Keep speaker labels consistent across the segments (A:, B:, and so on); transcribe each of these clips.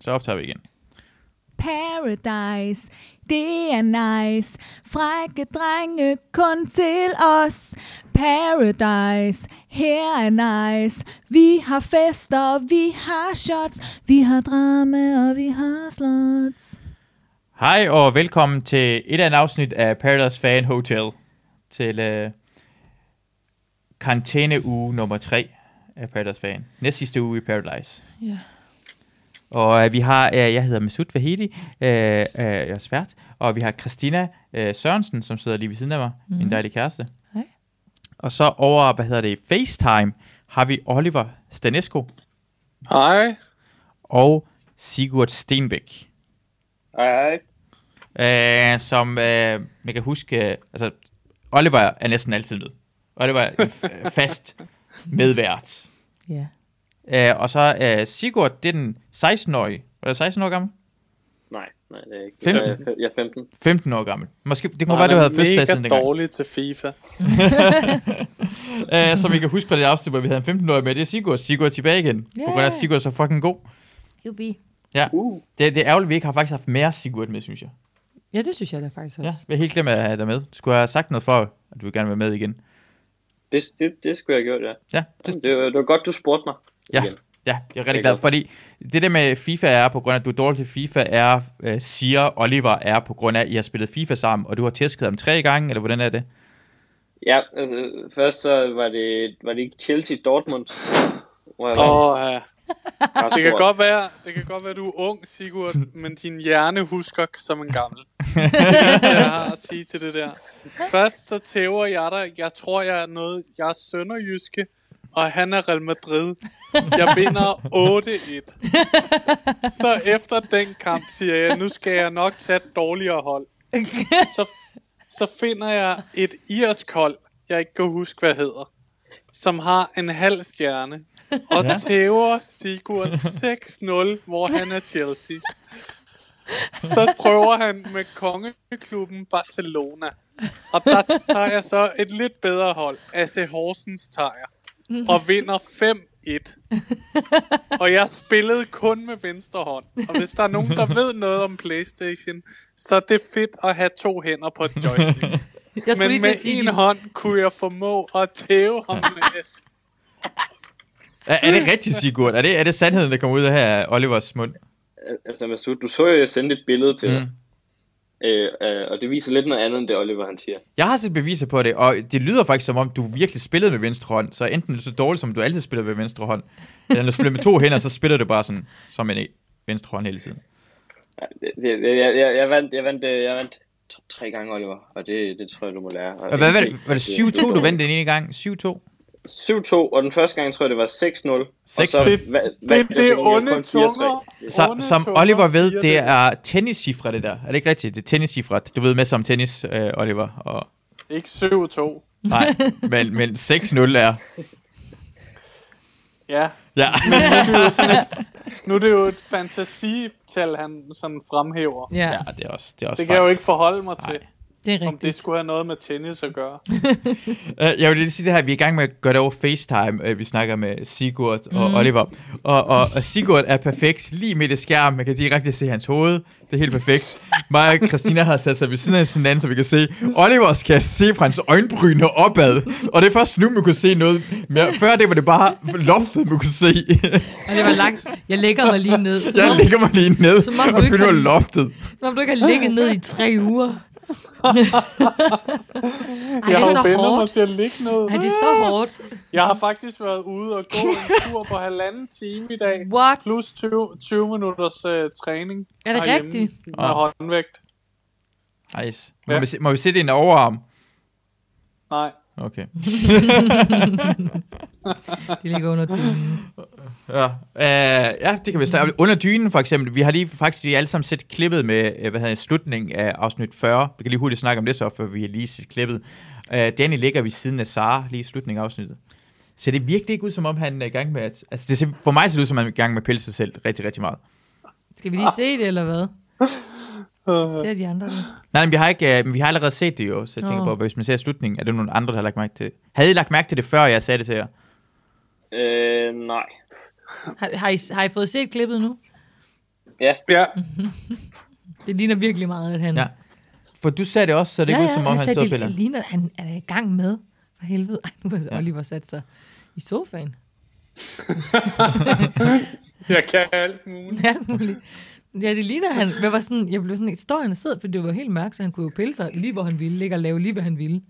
A: Så optager vi igen.
B: Paradise, det er nice. Frække drenge kun til os. Paradise, her er nice. Vi har fester, vi har shots. Vi har drama, og vi har slots.
A: Hej og velkommen til et andet afsnit af Paradise Fan Hotel. Til øh, karantæneuge nummer 3 af Paradise Fan. Næst sidste uge i Paradise.
B: Ja.
A: Og øh, vi har, øh, jeg hedder Masud Vahedi, øh, øh, jeg er svært, og vi har Christina øh, Sørensen, som sidder lige ved siden af mig, mm. min dejlige kæreste.
B: Hej.
A: Og så over, hvad hedder det, FaceTime, har vi Oliver Stanesco
C: Hej.
A: og Sigurd Stenbæk.
C: Hej, hej.
A: Øh, som øh, man kan huske, øh, altså Oliver er næsten altid med. Oliver er en f- fast medvært.
B: Ja.
A: Øh, og så øh, Sigurd, det er den 16-årige. Var jeg 16 år gammel?
D: Nej, nej, det er ikke.
A: Fem-
D: Jeg, er- jeg er 15.
A: 15 år gammel. Måske, det kunne være, du havde fødselsdag siden
C: mega
A: dengang.
C: dårlig til FIFA.
A: Øh, som I kan huske fra det afsnit, hvor vi havde en 15-årig med, det er Sigurd. Sigurd er tilbage igen. Yeah. På grund af, at
B: Yeah.
A: Sigurd er så fucking god.
E: Jubi.
D: Uh,
A: Det, det er ærgerligt, at vi ikke har faktisk haft mere Sigurd med, synes jeg.
E: Ja, det synes jeg da faktisk også.
A: Ja, jeg er helt glemt at have dig med. Du skulle have sagt noget for, at du vil gerne være med igen.
D: det, det, det skulle jeg have gjort, ja.
A: Ja, det,
D: Det, var- det var godt, du spurgte mig.
A: Ja.
D: Igen.
A: Ja, jeg er
D: Det
A: rigtig
D: er
A: glad,
D: godt.
A: fordi det der med FIFA er, på grund af, at du er dårlig til FIFA, er, øh, siger Oliver, er på grund af, at I har spillet FIFA sammen, og du har tæsket ham tre gange, eller hvordan er det?
D: Ja, altså, først så var det, var det ikke Chelsea Dortmund. Hvor jeg var
C: Åh, ja.
D: ret
C: det, kan
D: stor.
C: godt være, det kan godt være, du er ung, Sigurd, men din hjerne husker som en gammel. Det er så jeg har at sige til det der. Først så tæver jeg dig. Jeg tror, jeg er noget... Jeg er sønderjyske, og han er Real Madrid. Jeg vinder 8-1. Så efter den kamp siger jeg, nu skal jeg nok tage et dårligere hold. Så, så finder jeg et irsk hold, jeg ikke kan huske, hvad hedder, som har en halv stjerne. Og
A: Ja.
C: ja. tæver Sigurd 6-0, hvor han er Chelsea. Så prøver han med kongeklubben Barcelona. Og der tager jeg så et lidt bedre hold, AC Horsens tager jeg, og vinder 5-1. Og jeg spillede kun med venstre hånd. Og hvis der er nogen, der ved noget om Playstation, så er det fedt at have to hænder på et joystick.
E: Jeg skulle
C: Men
E: lige til
C: med
E: at sige,
C: en
E: din-
C: hånd kunne jeg formå at tæve ham med S.
A: Er, er det rigtigt, Sigurd? Er det, er det sandheden, der kommer ud af her af Olivers mund?
D: Altså, Masud, du så jo, jeg sendte et billede til
A: Mm.
D: dig. Øh, øh, og det viser lidt noget andet, end det Oliver han siger.
A: Jeg har set beviser på det, og det lyder faktisk som om, du virkelig spillede med venstre hånd, så enten er det så dårligt, som du altid spiller med venstre hånd, eller når du spiller med to hænder, så spiller du bare sådan, som en e- venstre hånd hele tiden.
D: Ja, det- det- Jeg, jeg, jeg, jeg, vandt, jeg, vandt, øh, jeg vandt t- tre gange, Oliver, og det, det tror jeg, du må lære.
A: Og Hvad var det? Var det 7-2, du vandt den ene gang? 7-2?
D: 7-2, og den første gang tror jeg, det var 6-0. Og så
A: 6-0.
D: va- vandt jeg til
C: Det, det er
D: gengæld
C: onde
D: kun 4-3.
C: tunger.
A: Så,
C: Onde
A: som
C: tunger
A: Oliver
C: siger
A: ved, det
C: det.
A: er tenniscifre, det der. Er det ikke rigtigt? Det er tenniscifre. Du ved med som tennis, øh, Oliver. Og,
C: Ikke 7-2.
A: nej, men, men 6-0 er...
C: Ja,
A: Ja.
C: nu er det jo et fantasital, han sådan fremhæver.
E: Ja,
A: ja, det er også, det er også
C: Det kan jeg jo ikke forholde mig til,
E: det er
C: om det
E: rigtigt.
C: skulle have noget med tennis at gøre.
A: Øh, jeg vil lige sige det her, vi er i gang med at gøre det over FaceTime. Øh, vi snakker med Sigurd og
E: Mm.
A: Oliver. Og, og, og Sigurd er perfekt, lige midt i skærmen. Man kan direkte se hans hoved. Det er helt perfekt. Mig og Christina har sat sig ved siden af hinanden, så vi kan se. Oliver skal se fra hans øjenbryn og opad. Og det er først nu, man kunne se noget. Mere. Før det var det bare loftet, man kunne se.
E: Og det var langt. Jeg lægger mig lige ned. Som
A: Jeg
E: om,
A: ligger mig lige ned
E: Som om du
A: og
E: ikke
A: fylder
E: har-
A: loftet.
E: som om du ikke har ligget ned i tre uger. Ej,
C: Jeg
E: det er
C: har
E: så
C: jo vendet mig
E: hårdt.
C: til at ligge ned.
E: Ej, det er så hårdt.
C: Jeg har faktisk været ude og gå en tur på halvanden time i dag.
E: What?
C: Plus 20, 20 minutters uh, træning.
E: Er det
C: herhjemme
E: rigtigt?
C: Med
A: Ah.
C: håndvægt.
A: Nice. Må,
C: Ja.
A: vi se, må vi se din overarm?
C: Nej.
A: Okay.
E: Det ligger under dynen.
A: Ja, øh, ja det kan vi snakke om. Under dynen for eksempel, vi har lige faktisk lige alle sammen set klippet med, øh, hvad hedder det, slutningen af afsnit 40. Vi kan lige hurtigt snakke om det så, for vi har lige set klippet. Øh, Danny ligger ved siden af Sara lige i slutningen af afsnittet. Så det virkelig ikke ud som om, han er i gang med at... Altså det ser, for mig ser det ud som, om han er i gang med at pille sig selv rigtig, rigtig meget.
E: Skal vi lige se det, eller hvad?
C: Uh,
E: Ser de andre det?
A: Nej, men vi har, ikke, øh, men vi har allerede set det jo, så jeg tænker
E: Nå.
A: på, hvis man ser slutningen, er det nogle andre, der har lagt mærke til det? Havde I lagt mærke til det, før jeg sagde det til jer?
D: Øh, nej.
E: Har, har, I, har I fået set klippet nu?
C: Ja,
E: Det ligner virkelig meget, at han...
A: Ja. For du sagde det også, så det ikke ud som om,
E: jeg
A: han
E: sagde,
A: stod og
E: det
A: pillede.
E: ligner, at han er i gang med. For helvede. Ej, nu har
A: Ja.
E: Oliver sat sig i sofaen.
C: jeg kan alt muligt.
E: Ja, alt muligt. Ja, det ligner at han. Jeg var sådan, jeg blev sådan, står han og sidder, for det var helt mørkt, så han kunne jo pille sig lige, hvor han ville, ligge og lave lige, hvad han ville.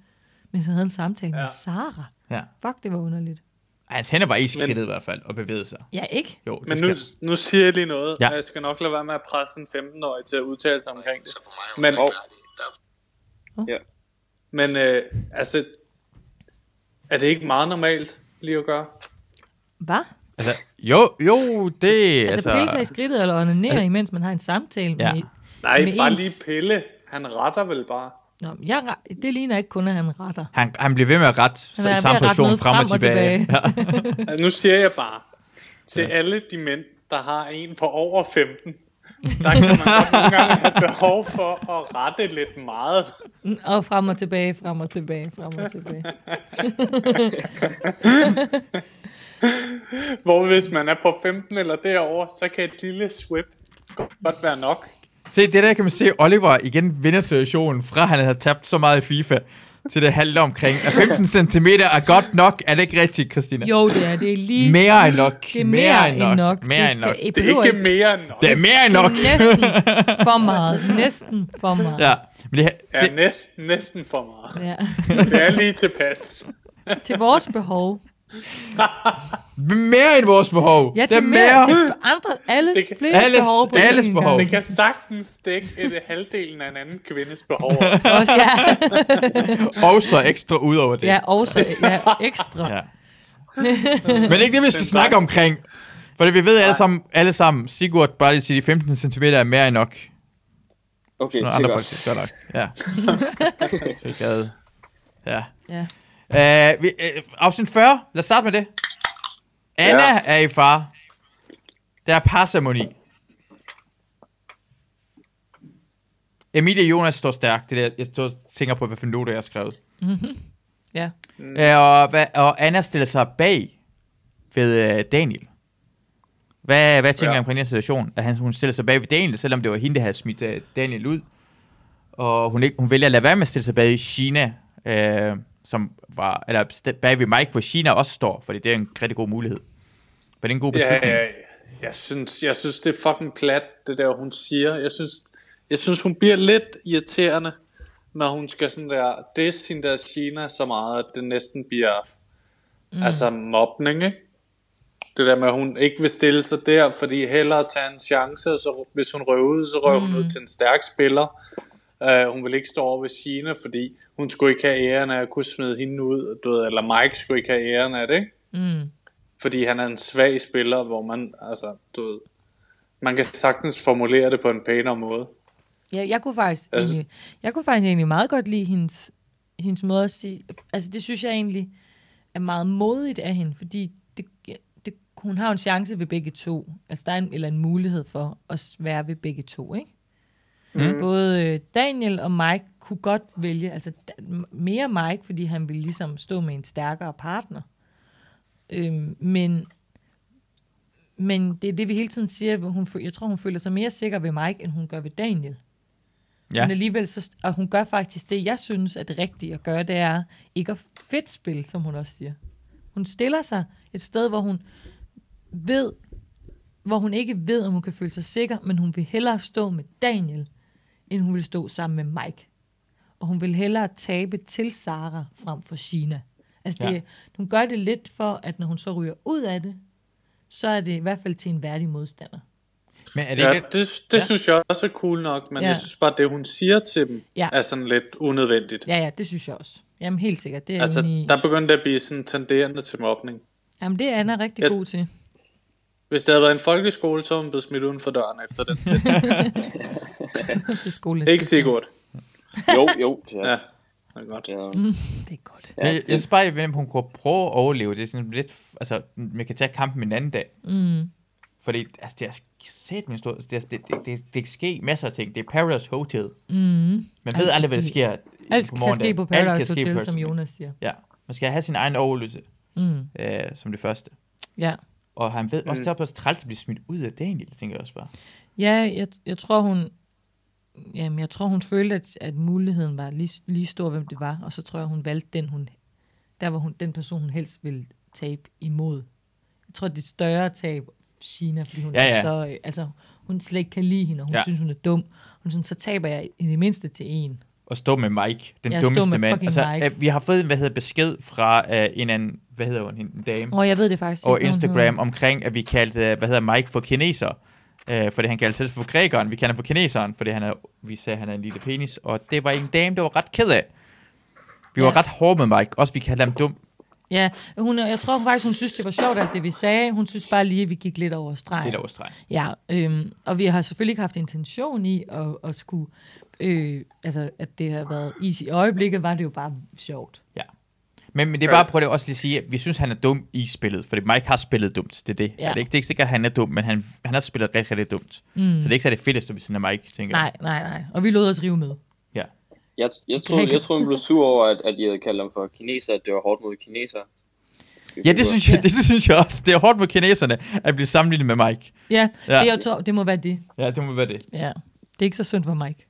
E: Men så havde han en samtale ja. med
C: Ja.
E: Sara.
A: Ja.
E: Fuck, det var underligt.
A: Ej, Hans hænder var i skridtet
C: Men-
A: i hvert fald, og bevægede sig.
E: Ja, ikke?
A: Jo, det
C: Men
A: skal.
C: nu, nu siger jeg lige noget,
A: Ja.
C: ja. og jeg skal nok lade være med at presse en 15-årig til at udtale sig omkring det. Men,
D: Og,
C: men øh, altså, er det ikke meget normalt lige at gøre?
E: Hvad?
A: Altså, jo, jo, det...
E: Altså, altså pille sig i skridtet eller onanere, altså, imens man har en samtale
A: Ja.
E: ja. med...
C: Nej,
E: Med
C: bare
E: ens-
C: lige pille. Han retter vel bare.
E: Nå, men jeg, re- det ligner ikke kun, at han retter.
A: Han, han blev ved med at rette
E: Han er
A: s-
E: ved
A: samme
E: at rette
A: person
E: noget
A: frem og tilbage.
C: Altså, Nu siger jeg bare, til alle de mænd, der har en på over 15, der kan man godt nogle gange have behov for at rette lidt meget.
E: Og frem og tilbage, frem og tilbage, frem og tilbage.
C: Hvor hvis man er på 15 eller derover, så kan et lille swip godt være nok.
A: Se, det der kan man se, Oliver igen vinder situationen, fra han havde tabt så meget i FIFA, til det halvt omkring. Er 15 cm er godt nok, er det ikke rigtigt, Christina?
E: Jo, det er, det er lige...
A: Mere end nok.
E: det er mere, end nok.
A: Mere end
E: skal-
A: nok.
E: I
C: Det
E: behøver
C: er ikke mere end nok.
A: Det er mere end
E: Det er
A: nok.
E: Næsten for meget. Næsten for meget. Ja.
A: Ja, men det, her-
C: Ja,
A: det,
C: næsten, næsten for meget.
E: Ja.
C: Det er lige tilpas.
E: til vores behov.
A: mere end vores behov.
E: Ja,
A: det er
E: til
A: mere.
E: mere. Til andre, alles,
C: Det kan-
E: flere
A: alles-
E: behov på
A: alles
E: én
A: behov.
E: gang.
C: Det kan sagtens dække et halvdelen af en anden kvindes behov. også.
E: Også, ja.
A: Og så ekstra ud over det.
E: ja, også ja, ekstra.
A: Ja. Men det er ikke det, vi skal snakke omkring. For det, vi ved alle sammen, alle sammen, Sigurd bare lige siger, de 15 cm er mere end nok.
D: okay,
A: Når
D: det er
A: andre folk
D: godt.
A: siger, godt nok. Ja. Det er gade. Ja.
E: Ja.
A: Uh, vi, uh, afsnit 40, lad os starte med det. Anna
D: Ja.
A: er i far. Der er parsamoni. Emilie og Jonas står stærkt. Det er der, jeg står og tænker på, hvad for noter jeg har skrevet.
E: ja.
A: Øh, og, hvad, og Anna stiller sig bag ved øh, Daniel. Hvad, hvad tænker
C: Ja.
A: ja. på den her situation? At han, hun stiller sig bag ved Daniel, selvom det var hende, der havde smidt øh, Daniel ud. Og hun, ikke, hun vælger at lade være med at stille sig bag China, øh, som var, eller st- bag ved Mike, hvor China også står, fordi det er en rigtig god mulighed. Men det er en god
C: Ja,
A: beslutning.
C: ja, ja. jeg synes, jeg synes, det er fucking plat, det der, hun siger. Jeg synes, jeg synes hun bliver lidt irriterende, når hun skal sådan der, det er sin der Kina så meget, at det næsten bliver, mm. altså mobning, ikke? Det der med, at hun ikke vil stille sig der, fordi hellere tage en chance, og så hvis hun røvede, så røv mm. hun ud til en stærk spiller. Uh, hun vil ikke stå over ved Sina, fordi hun skulle ikke have æren af at kunne smide hende ud, du ved, eller Mike skulle ikke have æren af det, ikke?
E: Mm.
C: fordi han er en svag spiller, hvor man, altså, du ved, man kan sagtens formulere det på en pænere måde.
E: Ja, jeg kunne faktisk,
C: Altså-
E: altså, egentlig, jeg kunne faktisk egentlig meget godt lide hendes, hendes måde at sige, altså det synes jeg egentlig er meget modigt af hende, fordi det, det, hun har jo en chance ved begge to, altså der er en, eller en mulighed for at være ved begge to, ikke? Mm. Både øh, Daniel og Mike kunne godt vælge, altså da- mere Mike, fordi han ville ligesom stå med en stærkere partner. Øhm, men men det er det, vi hele tiden siger. hvor Hun, fø- jeg tror, hun føler sig mere sikker ved Mike, end hun gør ved Daniel.
A: Ja.
E: Men alligevel, så, st- og hun gør faktisk det, jeg synes er det rigtige at gøre, det er ikke at fedt spille, som hun også siger. Hun stiller sig et sted, hvor hun ved, hvor hun ikke ved, om hun kan føle sig sikker, men hun vil hellere stå med Daniel, end hun vil stå sammen med Mike. Og hun vil hellere tabe til Sara frem for Sina. Altså det,
A: Ja.
E: ja. hun gør det lidt for, at når hun så ryger ud af det, så er det i hvert fald til en værdig modstander.
A: Men er det
C: Ja,
A: ikke...
C: det, det ja. synes jeg også er cool nok, men
E: Ja.
C: ja. jeg synes bare, det hun siger til dem,
E: Ja.
C: ja. er sådan lidt unødvendigt. Ja.
E: Ja, ja, det synes jeg også. Jamen helt sikkert. Det er
C: Altså,
E: altså, i...
C: der begyndte at blive sådan tenderende til mobning.
E: Jamen det er Anna rigtig
C: Jeg-
E: god til.
C: Hvis det havde været en folkeskole, så var hun blevet smidt uden for døren efter den sætning.
E: Det er skole.
C: Ikke Sigurd.
D: Jo, jo. Ja.
C: Ja, det er godt.
D: Ja.
E: Det er godt.
A: Ja, jeg, jeg synes bare, at hun kunne prøve at overleve. Det er sådan lidt... f- Altså, man kan tage kampen en anden dag.
E: Mm.
A: Fordi altså, det er set min stor... Det, er- det, det, det, det kan ske masser af ting. Det er Paradise Hotel.
E: Mm.
A: Man
E: Alt
A: ved
E: kan
A: aldrig, hvad der
E: ske.
A: sker
E: Alt kan ske
A: morgendagen.
E: på
A: Alt kan
E: Paradise
A: ske på
E: Hotel, som
A: Paradise Hotel.
E: Jonas siger.
A: Ja, man skal have sin egen overlevelse
E: Mm.
A: øh, som det første.
E: Ja.
A: Og han ved også,
C: Mm.
A: det er også træls at blive smidt ud af Daniel, tænker jeg også bare.
E: Ja, jeg, jeg tror, hun... Jamen, jeg tror, hun følte, at, at muligheden var lige, lige stor, hvem det var. Og så tror jeg, hun valgte den, hun, der var hun, den person, hun helst ville tabe imod. Jeg tror, det er større tab Gina, fordi hun
A: Ja,
E: ja, ja.
A: ja.
E: er så... øh, Altså, hun slet ikke kan lide hende, og hun
A: Ja.
E: ja. synes, hun er dum. Hun synes, så taber jeg i det mindste til en.
A: at stå med Mike, den
E: Ja, stå
A: dummeste
E: med
A: mand.
E: fucking
A: Altså,
E: Mike.
A: øh, vi har fået hvad hedder, besked fra øh, en anden, hvad hedder hun, hende, en dame,
E: Og jeg ved det faktisk
A: over
E: ikke, hvad hun hedder.
A: Mm. Instagram omkring, at vi kaldte, øh, hvad hedder Mike for kineser. Øh, fordi han kaldte selv for grækeren, vi kalder ham for kineseren, fordi han er, vi sagde, at han er en lille penis. Og det var en dame, der var ret ked af. Vi
E: Ja.
A: var ret hårde med Mike, også vi kaldte ham dum.
E: Ja, hun, jeg tror hun faktisk, hun synes, det var sjovt, alt det vi sagde. Hun synes bare lige, at vi gik lidt over stregen.
A: Det er overstreg.
E: Ja, øhm, og vi har selvfølgelig ikke haft intention i at, at skulle... Øh, altså, at det har været easy. I øjeblikket var det jo bare sjovt.
A: Men, men det er bare, prøv at også lige at sige, at vi synes, han er dum i spillet, fordi Mike har spillet dumt, det er det.
E: Ja.
A: Ja. Er det, ikke, det er ikke sikkert, at han er dum, men han, han har spillet rigtig, rigtig dumt. Mm. Så det er ikke så det fedeste, hvis han er Mike, tænker jeg.
E: Nej, nej, nej. Og vi lod os rive med.
D: Jeg, jeg, tror, jeg tror, hun blev sur over, at, at I havde kaldt ham for kineser, at det var hårdt mod kineser.
A: Ja, det synes, jeg, det synes jeg også. Det er hårdt mod kineserne at blive sammenlignet med Mike.
E: Ja,
A: Ja.
E: ja. Det, jeg tror, det må være det.
A: Ja, det må være det.
E: Ja. Det er ikke så synd for Mike.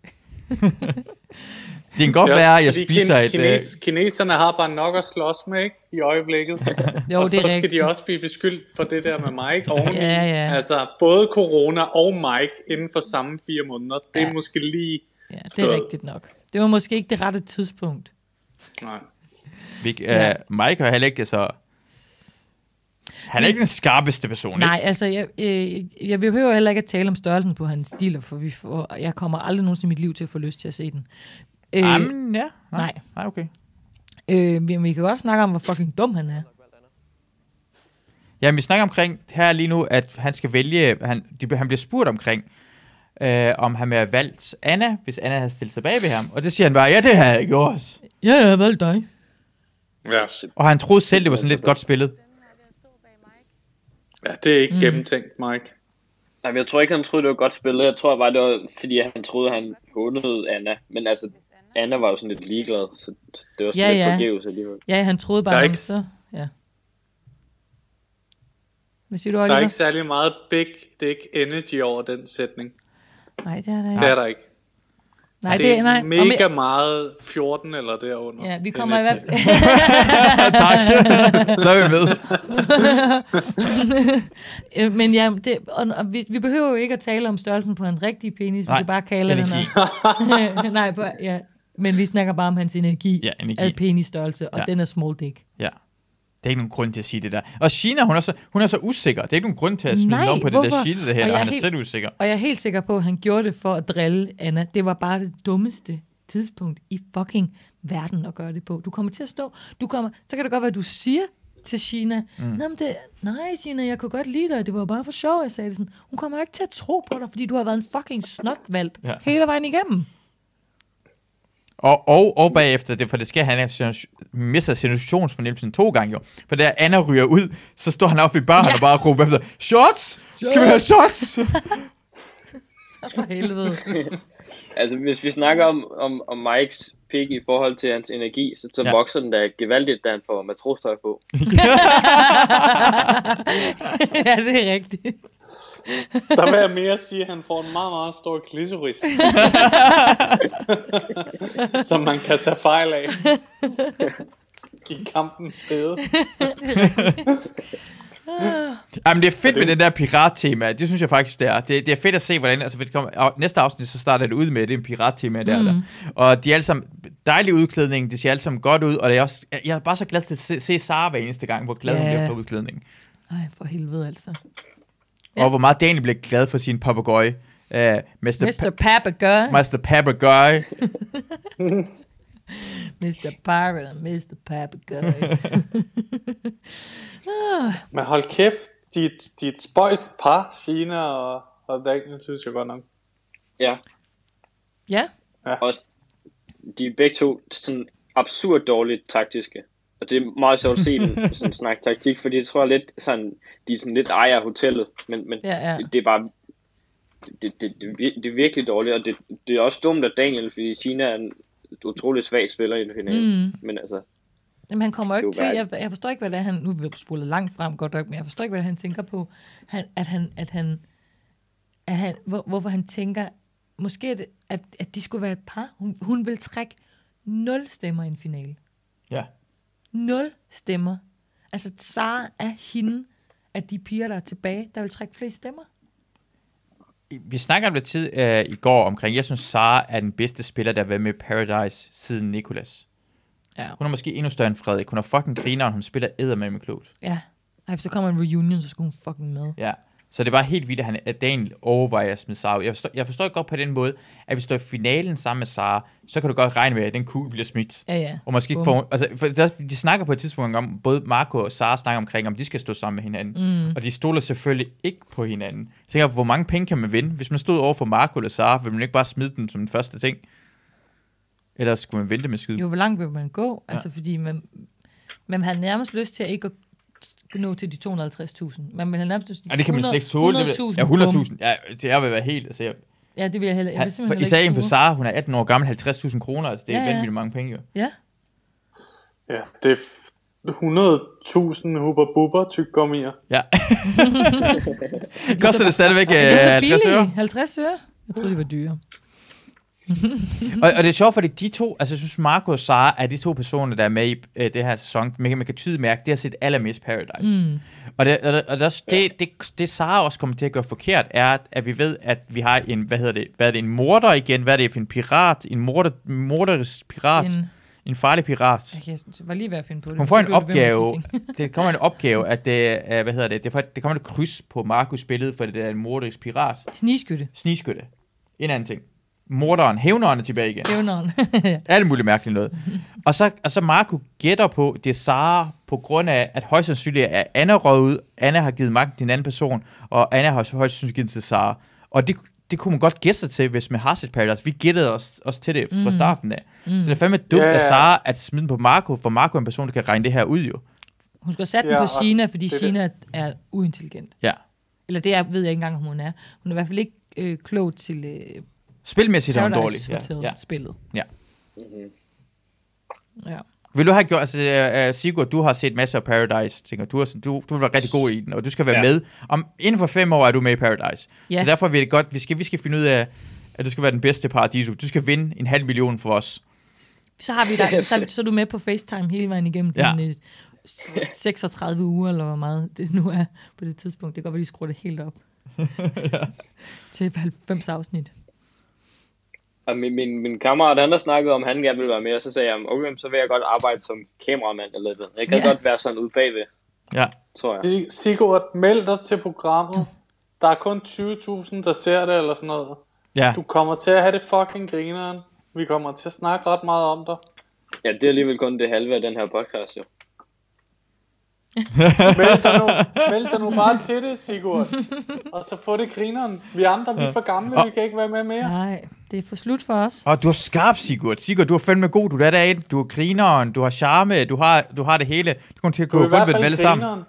A: Det kan godt
C: Det er også
A: være, at jeg
C: fordi
A: spiser
C: kin-
A: et... øh,
C: Kines, kineserne har bare nok at slås med, ikke? I øjeblikket.
E: Jo,
C: og
E: det
C: så
E: er
C: skal de
E: rigtigt.
C: også blive beskyldt for det der med Mike oveni.
E: Ja, ja.
C: Altså, både corona og Mike inden for samme fire måneder. Det er
E: Ja.
C: måske lige...
E: Ja, det er rigtigt nok. Det var måske ikke det rette tidspunkt.
C: Nej.
A: Vi, øh,
E: Ja.
A: Mike er heller ikke det så... Han er ikke den skarpeste person,
E: Nej,
A: ikke?
E: altså, jeg, øh, jeg behøver heller ikke at tale om størrelsen på hans dealer, for vi får, jeg kommer aldrig nogensinde i mit liv til at få lyst til at se den. Øh,
A: Jamen, ja.
E: nej.
A: Nej, okay.
E: Øh, men vi kan godt snakke om, hvor fucking dum han er.
A: Jamen, vi snakker omkring her lige nu, at han skal vælge... Han, de, han bliver spurgt omkring, øh, om han ville have valgt Anna, hvis Anna havde stillet sig bag ved ham. Og det siger han bare, ja, det havde jeg gjort.
E: Ja, jeg valgte dig.
C: Ja.
A: Og han troede selv, det var sådan lidt godt spillet.
C: ja, det er ikke mm. gennemtænkt, Mike.
D: Nej, men jeg tror ikke, han troede, det var godt spillet. Jeg tror bare, det var, fordi han troede, han hånede Anna. Men altså, Anna var jo sådan lidt ligeglad, så det var sådan ja,
E: Ja,
D: lidt
E: ja.
D: ja. forgæves alligevel.
E: Ja, han troede bare,
C: Der er
E: han
C: ikke-
E: så... Ja. Hvad siger du,
C: Der
E: Oliver?
C: er ikke særlig meget big dick energy over den sætning.
E: Nej, det er der
C: Det
E: ikke.
C: er der ikke.
E: Nej,
C: det er
E: det, er, nej. Og men-
C: mega meget 14 eller derunder.
E: Ja, vi kommer i hvert
C: energy.
E: fald...
A: tak. så er vi med.
E: Øh, men ja, det, og, og vi, vi behøver jo ikke at tale om størrelsen på hans rigtige penis. Nej,
A: Nej,
E: vi kan bare kalde den...
A: energi.
E: her- nej, på, ja. Men vi snakker bare om hans energi.
A: Ja, energi.
E: Af penisstørrelse, og
A: Ja.
E: den er small dick.
A: Ja. Der er ikke nogen grund til at sige det der. Og Gina, hun er så, hun er så usikker. Der er ikke nogen grund til at smide
E: Nej,
A: om på det der
E: hvorfor?
A: Gina der
E: Og
A: her, og
E: jeg
A: han er
E: er helt-
A: selv usikker.
E: Og jeg er helt sikker på, at han gjorde det for at drille Anna. Det var bare det dummeste tidspunkt i fucking verden at gøre det på. Du kommer til at stå, du kommer, så kan det godt være, at du siger til Gina, mm. Nå, men det, nej Gina, jeg kunne godt lide dig, det var bare for sjov, jeg sagde det sådan. Hun kommer jo ikke til at tro på dig, fordi du har været en fucking snotvalp
A: Ja.
E: ja. hele vejen igennem.
A: Og, og, og bagefter, det, for det sker, han er, sin- mister situationsfornemmelsen to gange jo. For da Anna ryger ud, så står han oppe i baren ja. og bare råber efter, shots! Skal vi have shots?
E: For helvede.
D: Altså, hvis vi snakker om, om, om Mikes pik i forhold til hans energi, så, så
A: Ja.
D: ja. vokser den da gevaldigt, da han får matrostøj på.
E: ja, det er rigtigt.
C: Der vil jeg mere sige, at han får en meget, meget stor klitoris. som man kan tage fejl af. I kampens hede.
A: Jamen, det er fedt
C: det-
A: med den der pirat-tema. Det synes jeg faktisk, det er. Det, det er fedt at se, hvordan... Altså, for det kommer, og næste afsnit, så starter det ud med, at det er en pirat-tema der, mm. der. Og de er alle sammen... Dejlig udklædning, de ser alle sammen godt ud, og det er også, jeg- jeg er bare så glad til at se, se Sara hver eneste gang, hvor glad yeah. hun
E: Ja.
A: bliver for udklædningen.
E: Nej, for helvede altså.
A: Ja. Og hvor meget Daniel bliver glad for sin papegøje. Uh, Mr.
E: Mr. Papagøj,
A: Pa- Mr. Papagøje.
E: Mr. Pirate og Mr. Papagøj.
C: Men hold kæft, de, er- de er et spøjst par, Sina og, og Daniel, synes jeg godt nok.
D: Ja,
E: ja,
D: og s- de er begge to sådan absurd dårligt taktiske. Og det er meget sjovt at se dem sådan snakke taktik, fordi jeg tror lidt sådan, de er sådan lidt ejer af hotellet, men, men
E: Ja, ja.
D: Det, det er bare, det, det, det, er vir- det er virkelig dårligt, og det, det er også dumt af Daniel, fordi Kina er en utrolig svag spiller i en finale. Mm. Men altså,
E: Jamen, han kommer jo ikke
D: Det
E: til,
D: er jo
E: jeg, jeg forstår ikke, hvad det er, han, nu er vi spolet langt frem godt nok, men jeg forstår ikke, hvad det er, han tænker på, han, at, han, at han at han, hvor, hvorfor han tænker, måske at, at, at de skulle være et par. Hun, hun vil trække nul stemmer i en finale.
A: Ja.
E: Nul stemmer. Altså, Sara er hende af de piger, der er tilbage, der vil trække flest stemmer.
A: Vi snakker om det tid øh, i går omkring, jeg synes, Sara er den bedste spiller, der har været med i Paradise siden Nicolas.
E: Ja.
A: Hun er måske endnu større end Frederik. Hun er fucking grineren, hun spiller eddermame klogt.
E: Ja. Ej, hvis der kommer en reunion, så skulle hun fucking med.
A: Ja. Så det er bare helt vildt, at, han, at Daniel overvejer at smide Sara ud. Jeg forstår, jeg forstår det godt på den måde, at hvis du er i finalen sammen med Sara, så kan du godt regne med, at den kugle bliver smidt.
E: Ja, ja.
A: Og måske ikke
E: Bum.
A: får, hun- altså, for der, de snakker på et tidspunkt om, både Marco og Sara snakker omkring, om de skal stå sammen med hinanden. Mm. Og de stoler selvfølgelig ikke på hinanden. Jeg tænker, hvor mange penge kan man vinde? Hvis man stod over for Marco eller Sara, ville man ikke bare smide dem som den første ting? Eller skulle man vente med skyde?
E: Jo, hvor langt vil man gå? Altså, fordi man, man har nærmest lyst til at ikke at nå til de 250.000. Man vil have nærmest lyst til
A: Ej, det kan man slet ikke tåle. Det vil-
E: 100.000.
A: Ja,
E: bum.
A: 100.000. Ja, det er vil være helt... Altså, jeg,
E: Ja, det vil jeg heller, jeg vil
A: han, for,
E: simpelthen
A: især en
E: heller
A: for
E: ikke
A: Sara, hun er 18 år gammel, 50.000 kroner. Altså, det er ja,
E: Ja, ja.
A: ja. vanvittigt mange penge, jo.
E: Ja,
C: Ja, det er f- 100.000 hubber bubber tyggegummier.
A: Ja. Koster det stadigvæk øh,
E: det er så
A: 50 øre?
E: billigt. 50 øre? Jeg troede, de var dyre.
A: Mm. Og, og det er sjovt, fordi de to, altså jeg synes, Marco og Sara er de to personer, der er med i øh, det her sæson. Man kan, man kan tydeligt mærke, det har set allermest Paradise. Mm. Og, det, og, det, og det, er også, det, det, det Sara også kommer til at gøre forkert, er, at- at vi ved, at vi har en, hvad hedder det, hvad er det, en morder igen? Hvad er det for en pirat? En morder, morderisk pirat? En,
E: En-
A: en farlig pirat?
E: Jeg kan- var lige ved at finde på det.
A: Hun
E: men
A: får
E: så
A: en
E: blev det ved med at sige
A: opgave,
E: ting.
A: det kommer en opgave, at det, øh, hvad hedder det, det, får- det kommer et kryds på Markus billede, for det der er en morderisk pirat.
E: Snigskytte.
A: Snigskytte. En anden ting. Morderen, hævneren er tilbage igen.
E: Evneren.
A: Alt muligt mærkeligt noget. og, så, og så Marco gætter på, det er Sara, på grund af, at højst sandsynligt er Anna røget ud. Anna har givet magten til en anden person, og Anna har højst sandsynligt givet den til Sara. Og det, det kunne man godt gætte sig til, hvis man har set Paradise. Vi gættede os, os til det fra starten af. Mm. Så det er fandme dumt
C: Ja, ja.
A: af Sara at smide den på Marco, for Marco er en person, der kan regne det her ud jo.
E: Hun skulle have sat den
C: Ja,
E: på
C: og
E: Sina, fordi
C: det er det.
E: Sina er uintelligent.
A: Ja.
E: Eller det er, ved jeg ikke engang, om hun er. Hun er i hvert fald ikke øh, klog til øh,
A: Spilmæssigt er hun dårlig.
E: Paradise
A: Ja, ja.
E: Hotel-spillet.
A: Ja.
D: Mhm.
E: Ja.
A: Vil du have gjort, altså uh, Sigurd, du har set masser af Paradise, tænker du, har, sådan- du, du vil være rigtig god i den, og du skal være ja.
D: Ja.
A: med. Om, inden for fem år er du med i Paradise.
E: Ja.
A: Så derfor vil det godt, vi skal, vi skal finde ud af, at du skal være den bedste paradiso. Du skal vinde en halv million for os.
E: Så har vi dig, så, så er du med på FaceTime hele vejen igennem
A: Ja.
E: ja. dine 36 uger, eller hvor meget det nu er på det tidspunkt. Det kan godt være, de skruer det helt op. Til 90 afsnit.
D: Og min, min, min kammerat, han der snakkede om, han gerne ville være med, og så sagde jeg, okay, så vil jeg godt arbejde som kameramand eller noget. Jeg kan
E: Ja.
D: ja. godt være sådan ude bagved,
A: Ja.
D: tror jeg.
C: I- Sigurd, meld dig til programmet. Der er kun 20.000, der ser det eller sådan noget.
A: Ja.
C: Du kommer til at have det fucking grineren. Vi kommer til at snakke ret meget om dig.
D: Ja, det er alligevel kun det halve af den her podcast, jo.
C: Meld dig nu, meld dig nu bare til det, Sigurd. Og så få det grineren. Vi andre, vi er for gamle, vi kan ikke være med mere.
E: Nej, det er for slut for os.
A: Og du er skarp, Sigurd. Sigurd, du er fandme god. Du er derinde. Du er grineren. Du har charme. Du har, du har det hele. Du kommer til at gå
C: Du er i
A: rundt med
C: hvert
A: dem alle
C: fald
A: sammen.
C: grineren.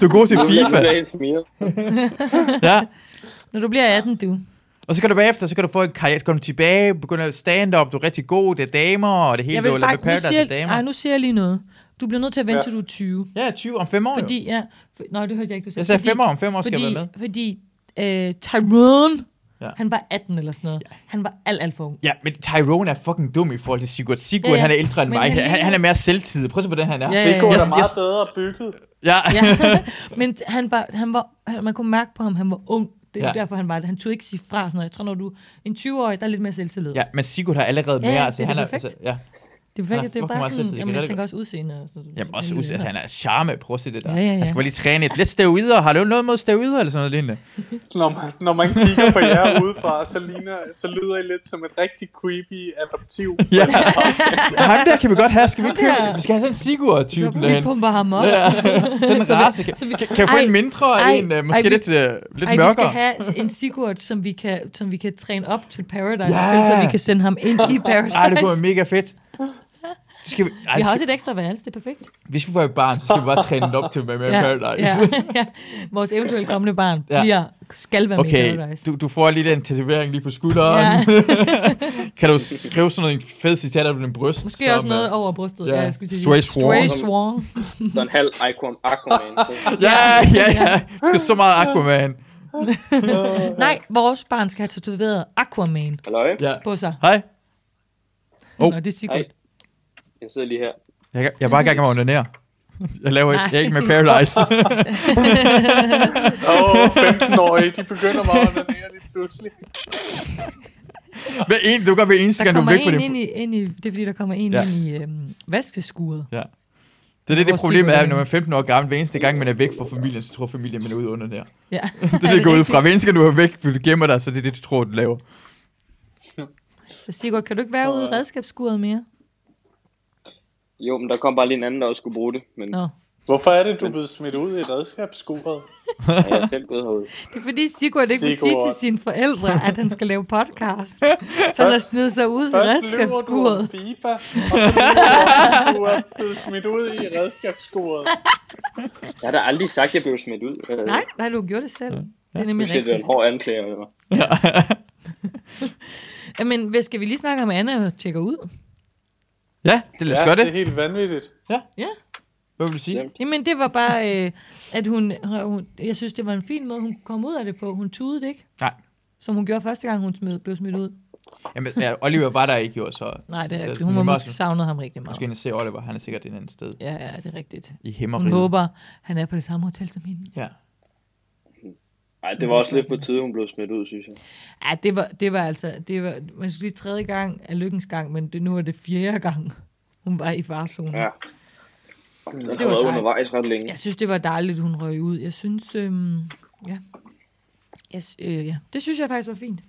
A: Du er god til
D: Nu er jeg- nu er
A: FIFA.
D: jeg helt smiret.
A: Ja.
E: Når du bliver 18, du.
A: Og så kan du bagefter, så kan du få en karriere. Så kan du tilbage, begynde at stand up. Du er rigtig god. Det er damer, og det hele.
E: Jeg
A: du har
E: vil
A: lavet
E: faktisk, nu
A: Paradise af
E: siger, ej, nu siger jeg lige noget. Du bliver nødt til at vente,
C: Ja.
E: til du er 20.
A: Ja, 20 om 5 år. jo.
E: Fordi, ja, for, nej, det hørte jeg ikke, du sagde.
A: Jeg sagde
E: Fordi-
A: fem år. Om fem år skal
E: fordi,
A: jeg være
E: Fordi øh, Tyrone,
A: Ja.
E: ja. han var 18 eller sådan noget. Han var alt, alt for ung.
A: Ja, men Tyrone er fucking dum i forhold til Sigurd. Sigurd, ja,
E: Ja,
A: ja.
E: ja.
A: han er ældre end
E: Men
A: mig.
E: han
A: Han,
E: ligner-
A: han, er mere selvtidig. Prøv at se, hvordan han er.
E: Ja,
C: Sigurd
A: Jeg-
C: er meget
A: jeg-
C: bedre bygget.
A: Ja.
E: Ja. Men han var, han var, han, man kunne mærke på ham, han var ung. Det er
A: Ja.
E: ja. derfor, han var det. Han turde ikke sige fra og sådan noget. Jeg tror, når du er en 20-årig, der er lidt mere selvtillid.
A: ja, men Sigurd har allerede
E: Ja,
A: mere.
E: ja,
A: altså,
E: det er
A: han er,
E: perfekt.
A: altså, ja.
E: Det er,
A: Han er
E: faktisk, det er
A: fucking
E: bare
A: meget
E: sådan,
A: selvtillid.
E: jamen,
A: Det er
E: jeg
A: rigtig
E: tænker også udseende. Og sådan,
A: Jamen også ud, at han er charme. Prøv at se det der.
E: Ja, ja, ja.
A: Han skal bare lige træne et lidt steroider. Har du noget mod steroider eller sådan noget lignende?
C: Når man, når man kigger på jer udefra, så, ligner, så lyder I lidt som et rigtig creepy adoptiv.
A: Ja. Ham der kan vi godt have. Skal vi
E: Ham
A: købe?
E: der.
A: Vi skal have sådan en Sigurd-typen
E: Så vi
A: derhen.
E: pumper ham op.
A: Ja, sådan en
E: Så vi-
A: race. Kan,
E: så vi-
A: kan jeg få en
E: Ej,
A: mindre og
E: ej,
A: en øh, måske
E: ej, vi-
A: lidt, øh, lidt
E: Ej, vi skal
A: mørkere?
E: have en Sigurd, som vi kan, som vi kan træne op til Paradise,
A: Ja.
E: yeah. til, så vi kan sende ham ind i Paradise.
A: Ej, det kunne være mega fedt. Det Skal vi, ej,
E: vi har
A: skal,
E: også et ekstra værelse, det er perfekt.
A: hvis vi får et barn, så skal vi bare træne det op til at være med i Paradise.
E: ja, ja. Vores eventuelt kommende barn
A: Ja.
E: ja. bliver, skal være med i
A: Okay,
E: Paradise.
A: du, du får lige den tatovering lige på skulderen.
E: Ja.
A: Ja. kan du skrive sådan noget en fed citat af din bryst?
E: Måske
A: som,
E: også noget
A: øh,
E: over brystet.
A: ja.
E: Ja, jeg skulle sige.
A: Stray Swan.
E: Stray Swan.
D: Sådan en halv Aquaman. Aquaman.
A: Ja, ja, ja. Du skal så meget Aquaman.
E: Nej, vores barn skal have tatoveret Aquaman
D: Halløj,
A: Ja.
E: på sig.
A: Hej.
E: Oh.
A: Hov.
E: Nå, det er Sigurd.
D: Hej. jeg sidder lige her.
A: Jeg, kan- jeg er bare i gang med at ordinere. Jeg laver ikke, jeg er ikke med Paradise.
C: Åh, oh, 15-årige, de begynder meget at ordinere lige pludselig.
A: Hver en, du gør hver eneste
E: Der
A: gang, du er
E: kommer
A: væk fra
E: en
A: din...
E: ind i, ind i, det er fordi, der kommer en
A: Ja.
E: ja. ind i øhm, vaskeskuret.
A: Det er det, det
E: Vores
A: problem er,
E: Sigurd.
A: når man er 15 år gammel, hver eneste gang, man er væk fra familien, så tror familien, man er ude under der.
E: Ja.
A: Det er det, det går ud fra. Hver eneste gang, du er væk, du gemmer dig, så det er det, du tror, du laver.
E: Så Sigurd, kan du ikke være ude i redskabsskuret mere?
D: Jo, men der kom bare lige en anden, der også skulle bruge det, men
E: Nå.
C: Hvorfor er det, du er blevet smidt ud i redskabsskuret?
D: ja, jeg er selv gået herude.
E: Det er fordi Sigurd ikke vil sige
C: Sigurd.
E: til sine forældre, at han skal lave podcast. Så han har
C: Først-
E: snedet sig ud i
C: Først løber du om
E: redskabsskuret.
C: FIFA, og så løber du, om, du er blevet smidt ud i redskabsskuret.
D: Jeg har da aldrig sagt, at jeg blev smidt ud. Øh,
E: Nej, nej, du gjorde det selv. Det er
D: Nu
E: nemlig
D: siger du, det er en
E: rigtigt.
D: hård anklage. Eller?
E: Men hvad skal vi lige snakke om, at Anna tjekker ud?
A: Ja, det lad os gøre
C: det er
A: det.
C: helt vanvittigt.
A: Hvad vil du sige?
D: Ja.
E: Jamen, det var bare, øh, at hun, hun... Jeg synes, det var en fin måde, hun kom ud af det på. Hun tudede ikke.
A: Nej.
E: Som hun gjorde første gang, hun smed, blev smidt ud.
A: Jamen, ja, Oliver var der ikke, jo, så...
E: Nej, det
A: er
E: er, det
A: sådan
E: hun må
A: lige meget
E: måske
A: sådan-
E: savnet ham rigtig meget.
A: Måske
E: Måske.
A: ind og se Oliver, han er sikkert et andet sted.
E: Ja, ja, det er rigtigt.
A: I
E: Hun
A: Himmeriget.
E: håber, han er på det samme hotel som hende.
A: Ja.
D: Nej, det var også lidt på tide, hun blev smidt ud, synes jeg.
E: Ja, det var, det var altså, det var, man skulle sige tredje gang af lykkens gang, men det, nu er det fjerde gang, hun var i farzonen.
D: Ja. Den har
E: Mm. var
D: været
E: dejligt.
D: undervejs ret længe.
E: Jeg synes, det var dejligt, hun røg ud. Jeg synes, øhm, ja. Jeg, sy- øh, ja. Det synes jeg faktisk var fint.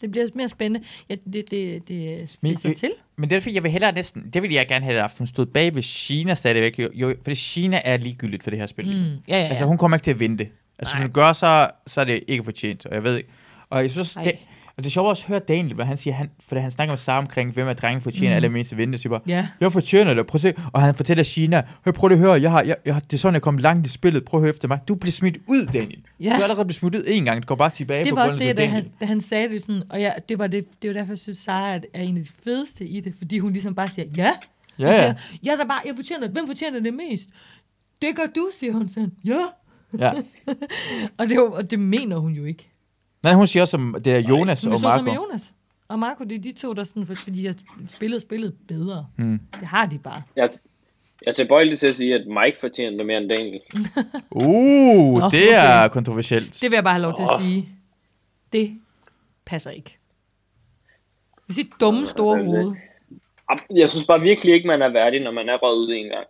E: Det bliver mere spændende. Ja, det, det, det
A: Men,
E: spiser
A: øh,
E: til.
A: Men det er fordi, jeg vil hellere næsten... Det ville jeg gerne have haft. Hun stod bag ved Kina stadigvæk. Jo, jo, fordi Kina er ligegyldigt for det her spil. lige nu.
E: Mm, ja, ja,
A: Altså,
E: ja.
A: hun kommer ikke til at vinde. Altså, hvis
E: Nej.
A: hun gør, så, så er det ikke fortjent, og jeg ved ikke. Og jeg synes,
E: Ej.
A: også, det, og det er sjovt også at høre Daniel, hvad han siger, han, for han snakker med Sara omkring, hvem af drengene fortjener mm. allermest at vinde, så jeg bare,
E: Ja.
A: jeg fortjener det, prøv at se. Og han fortæller Sina, hør, prøv lige at høre, jeg har, jeg, jeg, har- det er sådan, jeg kom langt i spillet, prøv at høre efter mig. Du bliver smidt ud, Daniel.
E: Ja.
A: Du er allerede blevet smidt ud en gang, du går bare tilbage
E: Det
A: på
E: var også
A: grund af
E: det, da
A: Daniel.
E: han, da han sagde det sådan, og jeg, det, var det, det var derfor, jeg synes, Sara er- er en af de fedeste i det, fordi hun ligesom bare siger, ja.
A: Ja,
E: Hun
A: ja.
E: siger, ja, der bare, jeg fortjener, hvem fortjener det mest? Det gør du, siger hun sådan. Ja.
A: Ja.
E: Og det, var- og det mener hun jo ikke.
A: Nej, hun siger også, om det er Jonas
E: Hun
A: og
E: er så som
A: Marco.
E: Jonas. Og Marco, det er de to, der sådan, for- fordi jeg spillede spillet bedre.
A: Hmm.
E: Det har de bare.
D: Jeg, jeg er tilbøjelig til at sige, at Mike fortjener det mere end Daniel.
A: Uh,
E: Nå,
A: det
E: okay.
A: er kontroversielt.
E: Det vil jeg bare have lov til at sige. Det passer ikke. Med sit dumme store hoved.
D: Am, Jeg synes bare virkelig ikke, man er værdig, når man er røget ud en gang.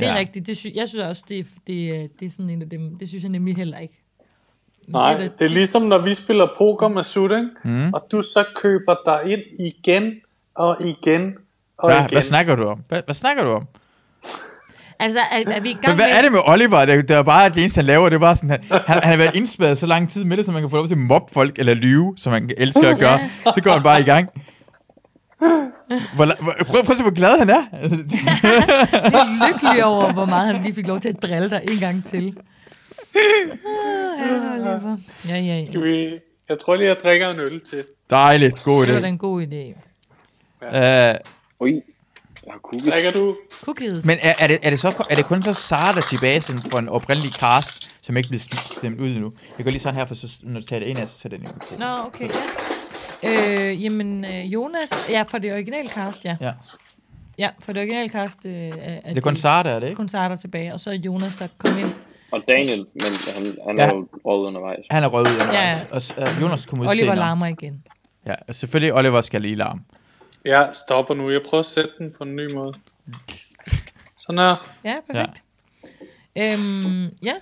E: Det er
A: Ja.
E: ja. rigtigt. Det sy- jeg synes også, det, er- det, er- det er sådan en af dem. Det synes jeg nemlig heller ikke. Men
C: Nej,
E: da-
C: det er ligesom når vi spiller poker med Sut, mm. og du så køber dig ind igen og igen og
A: Hvad,
C: igen.
A: hvad snakker du om? Hvad, hvad snakker du om?
E: Altså, er, er vi i gang
A: Men hvad
E: med...
A: er det med Oliver? Det, det er bare, at det eneste, han laver, det er bare sådan, han, han, han har været indspærret så lang tid med det, så man kan få lov til at mobbe folk eller lyve, som han elsker at gøre. Så går han bare i gang. Hvor, la- hvor, prøv, prøv at se, hvor glad han er.
E: Jeg er lykkelig over, hvor meget han lige fik lov til at drille dig en gang til. Ah, ja, Oliver. Ja, ja, ja.
C: Skal vi... Jeg tror lige, jeg drikker en øl til.
A: Dejligt, god idé.
E: Det var da en god idé.
A: Uh,
D: Ui, jeg har kugget.
C: Drikker du?
E: Cookies.
A: men er, er, det, er, det så, er det kun så Sara, der er tilbage sådan, fra en oprindelig cast, som ikke bliver stemt- stemt ud endnu? Jeg går lige sådan her, for så, når du tager det ind af, så tager den ind.
E: Nå, okay, ja. Øh, jamen, øh, Jonas, ja, for det originale cast, ja.
A: Ja.
E: Ja, for det originale cast øh, er, er
A: Det er kun Sara, der er det, ikke?
E: kun Sara der er tilbage, og så er Jonas, der kom ind.
D: Og Daniel, men han, han
A: Ja.
D: er jo røget undervejs.
A: Han er røget ud.
E: Ja,
A: Ja.
E: ja.
A: Og s- øh, Jonas kommer ud
E: Oliver
A: senere.
E: larmer igen.
A: Ja, og selvfølgelig Oliver skal lige larme.
C: Jeg stopper nu. Jeg prøver at sætte den på en ny måde. Sådan her.
E: Ja, perfekt. Ja. Øhm, ja.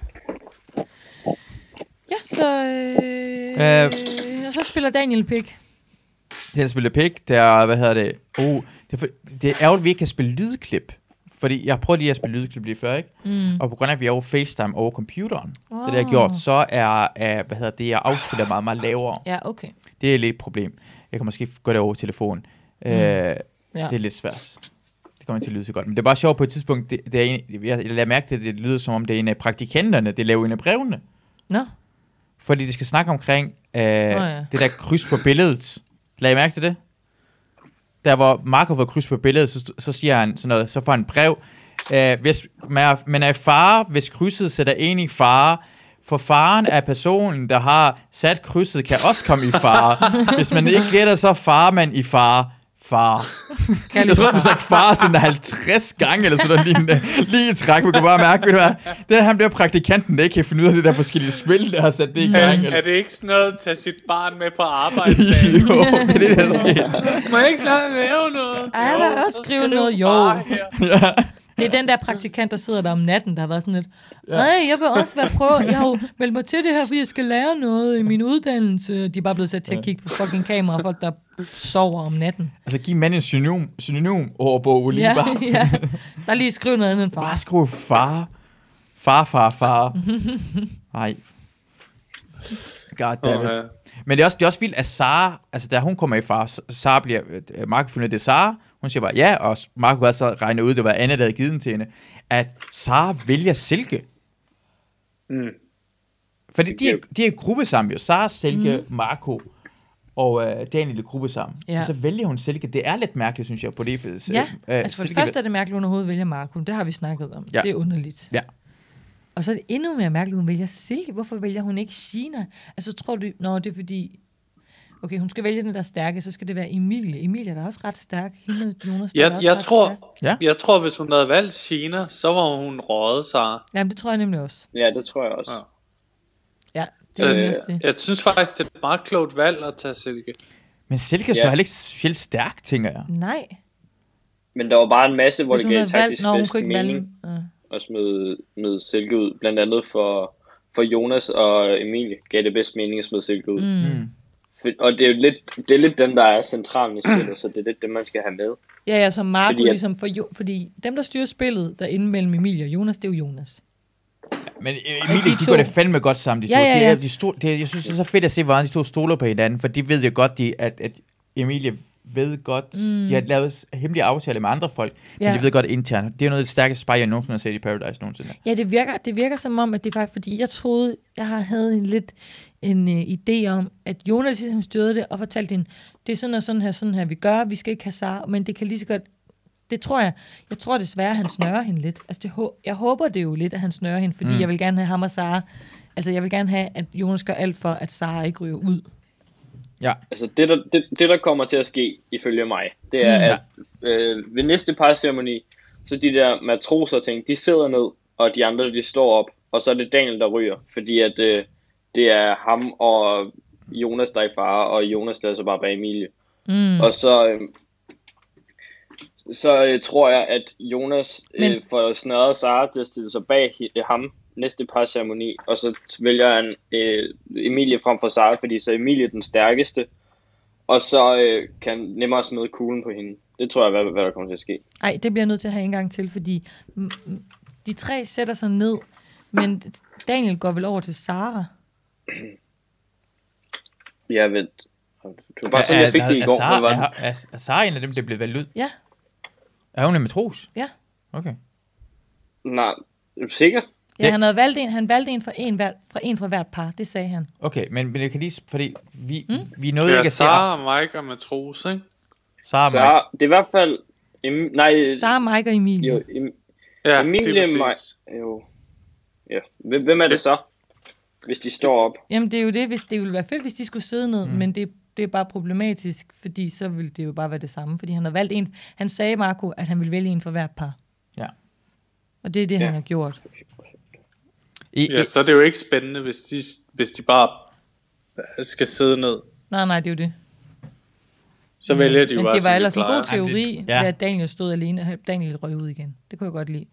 E: Ja, så... Øh, øh. Og så spiller Daniel Pick.
A: Det her spiller pik, der er, hvad hedder det? Oh, det, er for, det er ærgerligt, at vi ikke kan spille lydklip. Fordi jeg prøvede lige at spille lydklip lige før, ikke? Mm. Og på grund af, at vi er over FaceTime over computeren, oh. det der er gjort, så er, er, hvad hedder det, jeg afspiller meget, meget lavere.
E: Ja, okay.
A: Det er lidt et problem. Jeg kan måske gå det over telefonen. Mm. Øh, ja.
E: Ja.
A: Det er lidt svært. Det kommer ikke til at lyde så godt. Men det er bare sjovt på et tidspunkt, det, det er en, jeg, jeg lader mærke til, at det lyder som om, det er en af praktikanterne, det laver en af brevene.
E: Nå,
A: Fordi de skal snakke omkring øh,
E: ja.
A: det der kryds på billedet. Lad I mærke til det? Der hvor Marco får kryds på billedet, så, så siger han sådan noget, så får han et brev. Øh, hvis man er, man er i fare, hvis krydset sætter en i fare, For faren af personen, der har sat krydset, kan også komme i fare. Hvis man ikke gætter, så farer man i fare. Far.
E: Kan
A: Jeg tror, du sagde far sådan 50 gange, eller sådan noget, lige, lige i træk. Man kunne bare mærke, ved du hvad, det er, han bliver praktikanten, der ikke kan finde ud af det der forskellige spil, der har sat det i gang.
C: Er
A: Eller?
C: det ikke sådan noget at tage sit barn med på arbejde? Dan?
A: Jo, det er det, der er sket.
C: Må jeg ikke snart lave noget?
E: Ej, jeg vil også
C: så
E: skrive
C: skriv
E: noget, jo.
C: bare her.
E: Det er den der praktikant, der sidder der om natten, der har været sådan lidt, nej, jeg vil også være prøve, jeg har jo meldt mig til det her, fordi jeg skal lære noget i min uddannelse. De er bare blevet sat til at kigge på fucking kamera, folk der sover om natten.
A: Altså, giv manden en synonym, synonym ordbog, lige
E: Ja,
A: bare.
E: ja. Der lige skrive noget andet end
A: Bare
E: far.
A: skriv far. Far, far, far. Nej. God damn it.
C: Åh, ja.
A: Men det er også, det er også vildt, at Sara, altså da hun kommer i far, S- Sara bliver, øh, Marco finder, det er Sara, hun siger bare ja, og s- Marco har så regnet ud, det var Anna, der havde givet den til hende, at Sara vælger Silke.
C: Mm.
A: Fordi de er, de er i gruppe sammen jo, Sara, Silke, mm. Marco og øh, Daniel i gruppe sammen.
E: Mhm. Ja.
A: Ja. Og så vælger hun Silke. Det er lidt mærkeligt, synes jeg, på det. øh, s-
E: Ja,
A: øh,
E: altså for det
A: Silke-
E: første er det mærkeligt, at hun overhovedet vælger Marco. Det har vi snakket om.
A: Ja.
E: Det er underligt.
A: Ja.
E: Og så er det endnu mere mærkeligt, at hun vælger Silke. Hvorfor vælger hun ikke Sina? Altså tror du, nå, det er fordi... Okay, hun skal vælge den, der er stærke, så skal det være Emilie. Emilie er da også ret stærk. Hende og Jonas der er da
C: Jeg,
E: også
C: jeg,
E: ret stærk.
C: tror,
A: Ja.
C: jeg tror, hvis hun havde valgt Sina, så var hun røget sig.
E: Jamen, det tror jeg nemlig også.
D: Ja, det tror jeg også.
C: Ja.
E: Ja, det
C: Så
E: er
C: øh,
E: nemlig også det.
C: jeg synes faktisk, det er et meget klogt valg at tage Silke.
A: Men Silke
D: Ja.
A: står heller ikke specielt stærk, tænker jeg.
E: Nej,
D: Men der var bare en masse, hvor det
E: hvis hun
D: gav
E: havde valgt,
D: taktisk
E: når hun
D: bedst
E: kunne ikke
D: mening
E: valge. Ja.
D: at smide, smide Silke ud. Blandt andet for, for Jonas og Emilie gav det bedst mening at smide Silke ud. Mm.
A: Mm.
D: Og det er jo lidt, det er lidt dem, der er centralen i spillet, så det er lidt dem, man skal have med.
E: Ja, ja, som Marco
D: Fordi at-
E: ligesom, for jo, fordi dem, der styrer spillet derinde mellem Emilie og Jonas, det er jo Jonas.
A: Men øh, Emilie, de,
E: to-
A: de går det fandme godt sammen, de
E: Ja,
A: ja, to.
E: ja,
A: Ja,
E: ja.
A: ja. Det er, de sto- det er, jeg synes, det er så fedt at se, hvordan de to stoler på hinanden, for de ved jo godt, de, at, at Emilie ved godt, mm. de har lavet hemmelige aftaler med andre folk, ja.
E: Ja.
A: men de ved godt internt. Det er noget af det stærkeste spy, jeg nogensinde har set i Paradise nogensinde.
E: Ja, det virker, det virker som om, at det faktisk, fordi jeg troede, jeg har- havde en lidt en øh, idé om, at Jonas ligesom styrede det og fortalte hende, det er sådan og sådan her, sådan her, vi gør, vi skal ikke have Sara, men det kan lige så godt, det tror jeg, jeg tror desværre, at han snører hende lidt. Altså, det, hå- jeg håber det jo lidt, at han snører hende, fordi mm. jeg vil gerne have ham og Sara, altså jeg vil gerne have, at Jonas gør alt for, at Sara ikke ryger ud.
A: Ja.
D: Altså det der, det, det, der kommer til at ske, ifølge mig, det er, at
E: Mm.
D: øh, ved næste parceremoni, så de der matroser ting, de sidder ned, og de andre, de står op, og så er det Daniel, der ryger, fordi at øh, det er ham og Jonas, der er i fare, og Jonas lader sig bare bag Emilie.
E: Mm.
D: Og så, øh, så øh, tror jeg, at Jonas øh,
E: Men-
D: får snørret Sara til at stille sig bag hi- ham næste par ceremoni, og så vælger han øh, Emilie frem for Sara, fordi så er Emilie den stærkeste, og så øh, kan han nemmere smide kuglen på hende. Det tror jeg, hvad, hvad der kommer til at ske.
E: Nej, det bliver jeg nødt til at have en gang til, fordi mm, mm, de tre sætter sig ned, men Daniel går vel over til Sara.
D: Jeg ved, det var bare sådan, jeg fik det i går.
A: Er,
D: hvad var det?
A: er, er, er Sara en af dem, der blev valgt ud?
E: Ja,
A: Er hun en matros?
E: ja.
A: Okay.
D: Nej, er du sikker?
E: Ja,
A: Ja.
E: han havde valgt en, han valgte en fra en, hver, fra en fra hvert par, det sagde han.
A: Okay, men, men jeg kan lige... s- Fordi vi, mm? vi nåede
C: Det
A: ikke
C: er
A: at se... Sara
C: Sara, Mike og Matros, ikke?
A: og Mike.
D: Sara, det er i hvert fald... Em, nej,
E: Sara, Mike og Emilie.
D: jo,
E: Jo.
D: em,
C: Ja, det
D: Emilie
C: er
D: Maj...
C: præcis.
D: Jo. Ja. Hvem, hvem er det så? Hvis de står op.
E: Jamen, det er jo det, hvis, det ville være fedt, hvis de skulle sidde ned, mm. men det, det er bare problematisk, fordi så ville det jo bare være det samme, fordi han havde valgt en, han sagde, Marco, at han ville vælge en fra hvert par.
A: Ja.
E: Og det er det, ja. han har gjort.
A: I,
C: Ja, så er det jo ikke spændende, hvis de, hvis de bare øh, skal sidde ned.
E: Nej, nej, det er jo det.
C: Så vælger de jo
E: Mm. Men
C: bare,
E: det var
C: som de
E: ellers en
C: plejer.
E: god teori,
A: Ja.
E: ja. at Daniel stod alene, og Daniel røg ud igen. Det kunne jeg godt lide.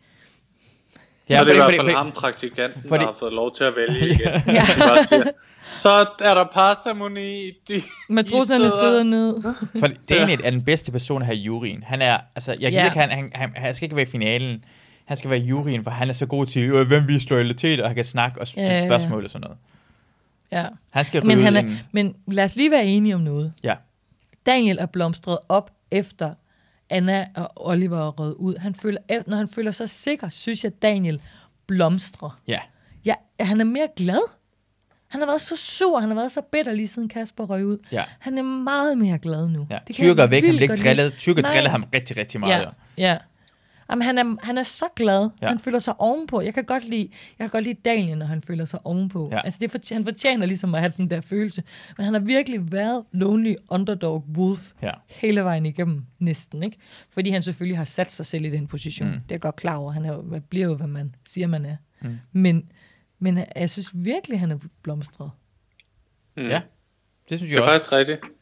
A: ja,
C: så er det i
A: fordi-
C: hvert
A: fordi-
C: fald
A: fordi-
C: ham, praktikanten,
A: fordi-
C: der har fået lov til at vælge igen.
E: Ja.
C: De bare siger, så er der parceremoni. De,
E: Matroserne
C: I
E: sidder ned.
A: For Daniel er den bedste person at have i juryen. Han er, altså, jeg gider
E: Ja.
A: ikke, han, han, han, han skal ikke være i finalen. Han skal være i juryen, for han er så god til, øh, hvem viser loyalitet, og han kan snakke og
E: Ja, ja, ja.
A: stille spørgsmål og sådan noget.
E: Ja.
A: Han skal
E: Men,
A: rydde
E: han
A: en-
E: er, men lad os lige være enige om noget.
A: Ja.
E: Daniel er blomstret op efter Anna og Oliver er røget ud. Han føler, ef- når han føler sig sikker, synes jeg, Daniel blomstrer.
A: Ja.
E: Ja, han er mere glad. Han har været så sur, han har været så bitter lige siden Kasper røg ud.
A: Ja.
E: Han er meget mere glad nu.
A: ja.
E: Det kan
A: Tyrker
E: jeg
A: væk, han
E: vildt
A: blev
E: godt
A: ikke
E: lide.
A: drillet. Tyrker
E: Nej.
A: drillede ham rigtig, rigtig meget.
E: Ja,
A: Ja.
E: ja. Jamen, han, er, han er så glad.
A: Ja.
E: Ja. Han føler sig ovenpå. Jeg kan godt lide, jeg kan godt lide Daniel, når han føler sig ovenpå.
A: Ja.
E: Ja. Altså, det for, han fortjener ligesom at have den der følelse. Men han har virkelig været lonely underdog wolf
A: Ja.
E: hele vejen igennem næsten. ikke? Fordi han selvfølgelig har sat sig selv i den position. Mm. Det er jeg godt klar over. Han er, jo- man bliver jo, hvad man siger, man er. Mm. Men, men jeg synes virkelig, han er blomstret.
A: Ja. Det synes
C: Mm. Det
A: jeg
C: er
A: også.
C: faktisk rigtigt.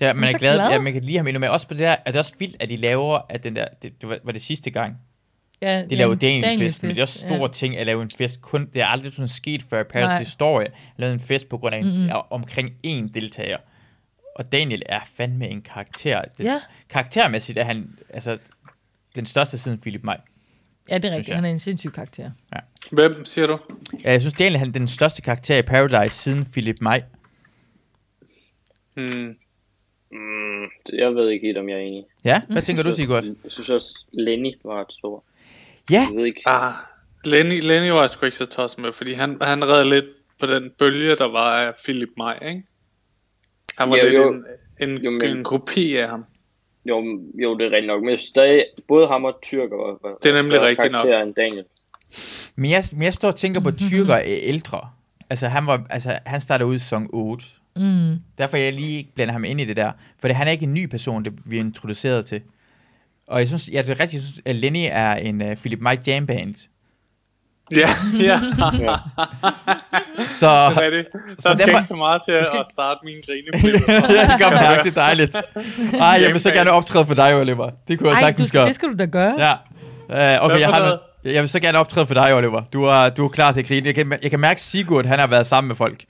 A: Ja, man
E: er
A: er
E: så
A: glad.
E: glad.
A: Ja, man kan lide ham endnu mere. Også på det der, er det også vildt, at de laver, at den der, det, det var, var det sidste gang,
E: Ja,
A: de lavede
E: ja,
A: Daniel, Daniel fest, men det er også
E: ja.
A: store ja. ting at lave en fest. Kun, det er aldrig sådan sket før i Paradise
E: Nej.
A: historie. at lave en fest på grund af en, mm-hmm. omkring én deltager. Og Daniel er fandme en karakter. Det,
E: Ja.
A: Karaktermæssigt er han altså, den største siden Philip May.
E: Ja, det er
A: jeg.
E: rigtigt. Han er en sindssyg karakter.
C: Hvem siger du?
A: Ja, Jeg synes, Daniel han er den største karakter i Paradise siden Philip May.
C: Hmm.
D: Mm, jeg ved ikke helt, om jeg er enig.
A: Ja, hvad tænker du,
D: Jeg synes
A: Sigurd?
D: også- Jeg synes også, Lenny var ret stor.
A: Ja,
D: Jeg ved ikke.
C: Ah, Lenny, Lenny var jeg sgu ikke så tosset med, fordi han, han redde lidt på den bølge, der var af Philip May, ikke? Han var
D: Ja,
C: lidt
D: jo.
C: en, en,
D: Jo,
C: jo,
D: men-
C: en kopi af ham.
D: Jo, m- jo, det er rigtigt nok. Men jeg synes stadig, både ham og Tyrker var, var
C: Det er nemlig
D: var
C: rigtigt nok.
D: karakterer end Daniel.
A: men jeg, men jeg står og tænker på tyrker er ældre. Altså, han, var, altså, han startede ud i sæson 8.
E: Mm.
A: Derfor jeg lige blander ham ind i det der. For det, han er ikke en ny person, det vi er introduceret til. Og jeg synes, ja, det er rigtigt, jeg synes, at Lenny er en uh, Philip Mike jam band.
C: Ja, ja,
A: Så
C: det er rigtigt.
A: så
C: Der skal
A: derfor-
C: ikke så meget til at,
A: skal-
C: at starte min grine.
A: jeg kan godt mærke, det er dejligt. Ej, jeg vil så gerne optræde for dig, Oliver. Det kunne jeg
E: Ej, du
A: sagtens
E: skal,
A: gøre.
E: det skal du da gøre.
A: Ja. Uh, okay,
C: Hvad
A: jeg,
C: for
A: har
C: noget?
A: noget. jeg vil så gerne optræde for dig, Oliver. Du er, du er klar til at grine. Jeg kan, jeg kan mærke, at Sigurd han har været sammen med folk.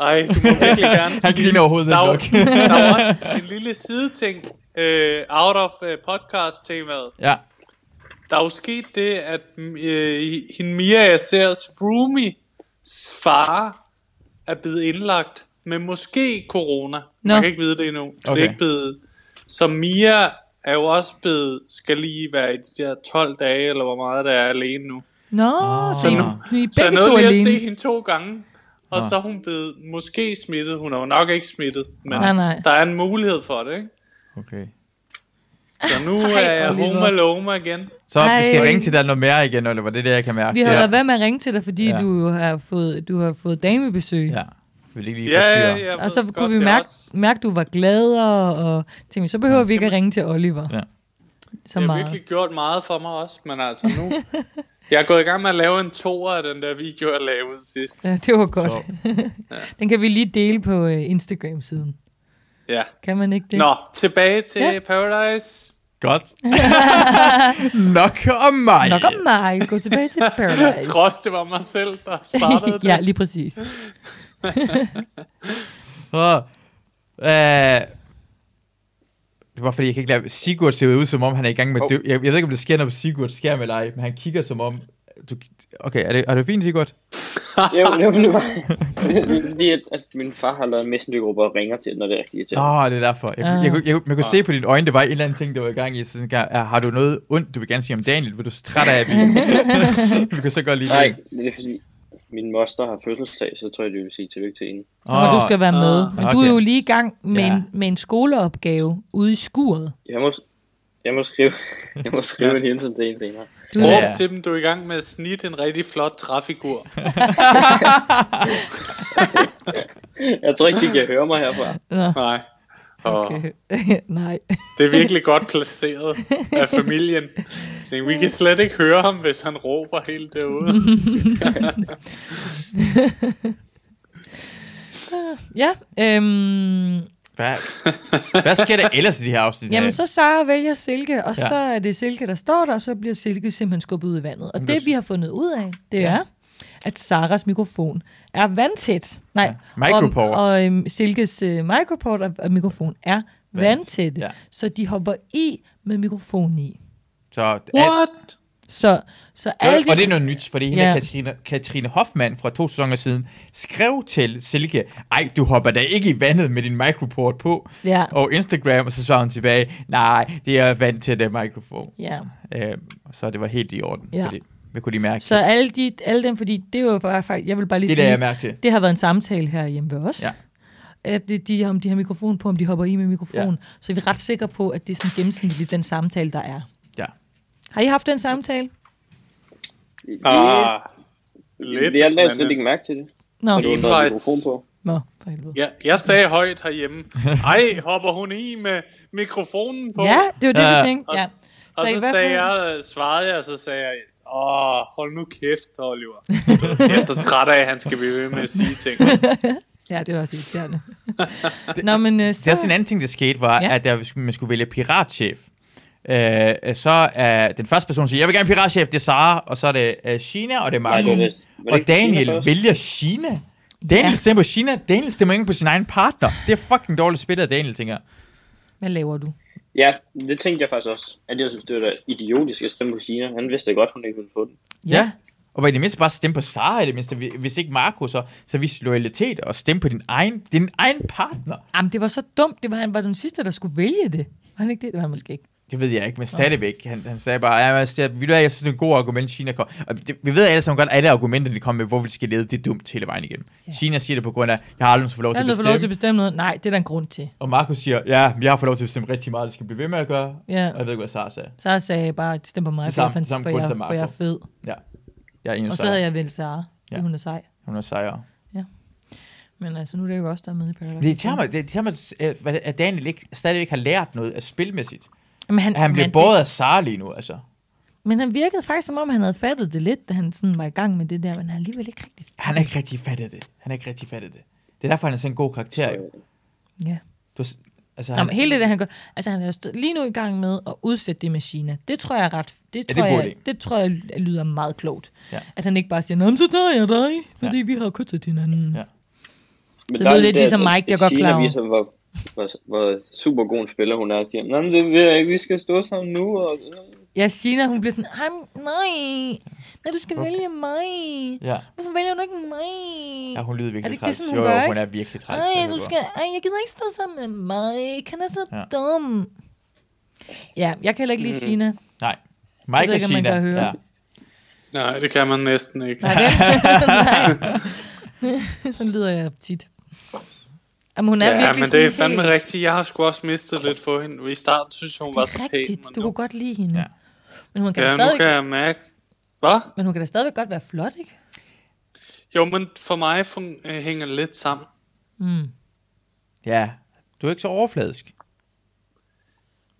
C: Ej, du må virkelig gerne
A: Han
C: sige-
A: griner overhovedet
C: der,
A: ikke
C: var- der var også en lille sideting uh, out of uh, podcast-temaet.
A: Ja.
C: Der er jo sket det, at øh, hende Mia, jeg ser, Roomies far er blevet indlagt med måske corona. No.
E: Nå.
C: Man kan ikke vide det endnu. Okay.
A: Okay.
C: Det er ikke blevet... Så Mia er jo også blevet, skal lige være i de der 12 dage, eller hvor meget der er alene nu.
E: Nå, så, I,
A: nu-
E: nu er I
C: Så jeg
E: begge
C: nåede
E: to
C: lige at se
E: alene.
C: hende to gange, og så er hun blevet måske smittet. Hun er jo nok ikke smittet, men
E: Nej, nej.
C: der er en mulighed for det, ikke?
A: Okay.
C: Så nu er jeg
E: Oliver.
C: home alone igen.
A: Så
E: Ej.
A: vi skal ringe til dig noget mere igen, Oliver. Det er det, jeg kan mærke.
E: Vi har
A: ja.
E: lavet være med at ringe til dig, fordi
A: Ja.
E: ja. du har fået, du har fået damebesøg. Ja.
A: Ja. Vi vil ikke lige
C: Ja, ja,
A: forstyrre.
C: ja. jeg
E: Og så
C: ved
E: kunne
C: godt,
E: vi
C: det er
E: mærke,
C: også-
E: mærke, du var glad, og, og tænkte, så behøver vi ikke at ringe til Oliver.
A: Ja.
E: Ja. Så
C: Det har
E: meget.
C: virkelig gjort meget for mig også, men altså nu... jeg er gået i gang med at lave en toer af den der video, jeg lavede sidst.
E: Ja, det var godt. Den kan vi lige dele på øh, Instagram-siden.
C: Ja.
E: Kan man ikke det?
C: Nå, tilbage til ja.
E: Ja.
C: Paradise.
A: Godt. Nok om mig.
E: Nok om mig. Gå tilbage til Paradise.
C: Trods det var mig selv, der startede det.
E: ja, lige præcis.
A: Åh. Øh, det var fordi, jeg kan ikke lade... Sigurd ser ud, som om han er i gang med at dø. Jeg, jeg ved ikke, om det sker, når Sigurd skærm eller ej, men han kigger som om... Du, okay, er det, er det fint, Sigurd?
D: Jo, jo, men det var... det er fordi, at, at min far har lavet en messengergruppe og ringer til, når det er rigtigt.
A: Åh, oh, det er derfor. Jeg, jeg,
E: Ah.
A: jeg, kunne- jeg, man kunne se på dine øjne, det var en eller anden ting, der var i gang i. Så sådan, "Ja, har du noget ondt, du vil gerne sige om Daniel? Vil du så træt af, at vi... vi kan så godt lide
D: Nej,
A: det.
D: det er fordi, min moster har fødselsdag, så tror jeg, det vil sige tillykke til hende.
E: Oh, og du skal være med.
C: Ah,
E: Men du er
A: okay.
E: jo lige i gang med,
A: Ja.
E: ja. en, med en skoleopgave ude i skuret.
D: Jeg må, jeg må skrive, jeg må skrive en hilsen til hende senere.
E: Du,
A: Ja.
C: Råb til dem, du er i gang med at snitte en rigtig flot træfigur.
D: Jeg tror ikke, de kan høre mig herfra.
E: Nå,
C: Nej. Og okay.
E: okay. Nej.
C: det er virkelig godt placeret af familien. Jeg tænkte, vi kan slet ikke høre ham, hvis han råber helt derude.
E: Ja, øhm,
A: Hvad, hvad sker der ellers i de her afsnit?
E: jamen så Sara vælger Silke, og
A: Ja.
E: ja. så er det Silke, der står der, og så bliver Silke simpelthen skubbet ud i vandet. Og
A: det-
E: det, vi har fundet ud af, det ja. er, at Saras mikrofon er vandtæt. Nej,
A: Ja, microport.
E: Og, og øhm, Silkes øh, microport og, og mikrofon er vandtæt.
A: ja.
E: Ja. Så de hopper i med mikrofonen i.
A: så alt,
C: What?
E: Så, så alle
A: Alt
E: de...
A: og det er noget nyt, fordi hende
E: Ja.
A: yeah. Katrine, Katrine Hoffmann fra to sæsoner siden skrev til Silke, ej, du hopper da ikke i vandet med din microport på.
E: Ja.
A: Og Instagram, og så svarede hun tilbage, nej, det er vant til det mikrofon.
E: Ja.
A: Øh, så det var helt i orden,
E: Ja.
A: fordi vi kunne lige mærke
E: Så
A: det.
E: alle, de, alle dem, fordi det var bare faktisk, jeg vil bare lige
A: Det
E: sige,
A: lader jeg mærke til.
E: det har været en samtale her hjemme ved os.
A: Ja.
E: At de, de, om de har mikrofon på, om de hopper i med mikrofon.
A: Ja.
E: Ja. Så vi er ret sikre på, at det er sådan gennemsnitligt den samtale, der er.
A: Ja.
E: Har I haft den samtale?
C: Ah,
D: lidt,
C: lidt.
D: jeg lagde slet
C: men,
D: ikke mærke til det.
E: Nå,
D: Og du har noget
C: Envejs.
D: mikrofon på.
E: Nå for helvede.
C: ja, jeg sagde højt herhjemme. Ej, hopper hun i med mikrofonen på?
E: Ja, det var det,
A: Ja.
E: vi tænkte.
C: Og,
E: Ja.
C: s- og
E: Så i
C: så,
E: hvert
C: sagde
E: fald-
C: jeg, øh, svarede jeg, og så sagde jeg, åh, hold nu kæft, Oliver. jeg er så træt af, at han skal blive ved med at sige ting.
E: ja, det var også irriterende. Nå, men øh,
A: Det er også en
E: så...
A: anden ting, der skete, var,
E: Ja.
A: ja. at der, hvis man skulle vælge piratchef. Øh, så er den første person, der siger, jeg vil gerne piratchef, det er Sara, og så er det øh, Gina, og det er
D: Nej,
A: Marco.
D: det var det. Var det
A: og
D: ikke Tina
A: Daniel
D: først?
A: vælger Gina. Daniel
E: Ja.
A: ja. stemmer på Gina. Daniel stemmer ikke på sin egen partner. Det er fucking dårligt spillet af Daniel, tænker jeg.
E: Hvad laver du?
D: Ja, det tænkte jeg faktisk også. At jeg synes, det var da idiotisk at stemme på Kina. Han vidste da godt, hun ikke ville få den.
A: Ja. Og var i det mindste bare stemme på Sara, i det mindste. Hvis ikke Marco, så, så vis loyalitet og stemme på din egen, din egen partner.
E: Jamen, det var så dumt. Det var, han var den sidste, der skulle vælge det. Var han ikke det? Det var han måske ikke.
A: Det ved jeg ikke, men stadigvæk. Han, han sagde bare, ja, altså, jeg, ved du hvad, jeg synes, det er et godt argument, Kina kom. Og det, vi ved alle sammen godt, alle argumenterne, de kom med, hvorfor de skal lede, det er dumt hele vejen igennem.
E: Ja.
A: Kina siger det på grund af, jeg har aldrig fået lov til
E: Der er
A: at
E: noget for
A: bestemme.
E: lov til at bestemme noget. Nej, det er der en grund til.
A: Og Markus siger, ja, men jeg har fået lov til at bestemme rigtig meget, det skal blive ved med at gøre.
E: Ja.
A: Og jeg ved ikke, hvad Sara sagde.
E: Så sagde jeg bare, stem på mig,
A: Det
E: for, jeg,
A: samme-
E: fandt,
A: det samme
E: for,
A: grund
E: jeg,
A: som Marco.
E: for jeg er fed.
A: Ja. Jeg er enig med
E: Og så
A: Sara.
E: havde jeg valgt Sara. Ja.
A: Ja.
E: Hun er sej.
A: Hun er sejere.
E: Men altså, nu er det jo også der er med i Paradise.
A: Men det tager mig, det tager mig øh, hvad- at Daniel ikke, stadigvæk har lært noget af spilmæssigt.
E: Men han,
A: At han bliver
E: men
A: båret af Sara lige nu, altså.
E: Det, men han virkede faktisk, som om han havde fattet det lidt, da han sådan var i gang med det der, men han har alligevel ikke rigtig...
A: Han er ikke rigtig fattet det. Han er ikke rigtig fattet det. Det er derfor, han er sådan en god karakter, jo.
E: Ja.
A: Du, har s- altså,
E: Nå,
A: han,
E: men hele det der, han gør... Altså, han er jo stå- lige nu i gang med at udsætte det med Kina. Det tror jeg er ret... Det
A: er
E: tror,
A: en god
E: jeg,
A: idé.
E: det tror jeg l- lyder meget klogt.
A: Ja.
E: At han ikke bare siger, Nå, men så tager jeg dig, fordi ja.
A: Ja.
E: vi har kuttet hinanden.
A: Ja.
D: Men
E: Det
D: der
E: lød
D: er
E: lidt
D: det
E: ligesom
D: at-
E: Mike, jeg
D: at
E: er godt klar
D: Tina
E: over.
D: viser, hvor, hvor, hvor super god en spiller hun er. Og siger, nej, men det vil jeg ikke. Vi skal stå sammen nu. Og,
E: Ja, Sina, hun bliver sådan, "Ej, men nej, nej, du skal vælge mig.
A: ja.
E: Hvorfor vælger du ikke mig?
A: Ja, hun lyder
E: Er det
A: virkelig
E: ikke det,
A: træls.
E: sådan, hun
A: Jo,
E: gør,
A: jo, hun
E: ikke?
A: er virkelig træls.
E: Ej,
A: det
E: du
A: ved
E: skal, ej, jeg gider ikke stå sammen med mig. Han er så ja.
A: Ja.
E: dum. Ja, jeg kan heller ikke
C: Mm.
E: lide Sina.
A: jeg. Nej.
E: Jeg
A: Mike og
E: ved ikke, om man
A: Sina.
E: kan høre.
A: Ja.
C: Nej, det kan man næsten ikke.
E: Nej, vel? Nej. Sådan lyder jeg tit. Jamen, hun er
C: Ja,
E: virkelig
C: men
E: sådan
C: det er fandme
E: helt-
C: rigtigt. Jeg har sgu også mistet lidt for hende. I starten synes jeg, hun var
E: Det
C: så
E: er
C: pæn.
E: rigtigt.
C: men
E: Du
C: nu-
E: kunne godt lide hende. Ja.
A: Ja.
E: Men hun kan da
C: Ja, nu
E: stadig...
C: kan jeg mærke. Hvad?
E: Men hun kan da stadigvæk godt være flot, ikke?
C: Jo, men for mig fun- øh, hænger det lidt sammen.
E: Mm.
A: ja. Du er ikke så overfladisk.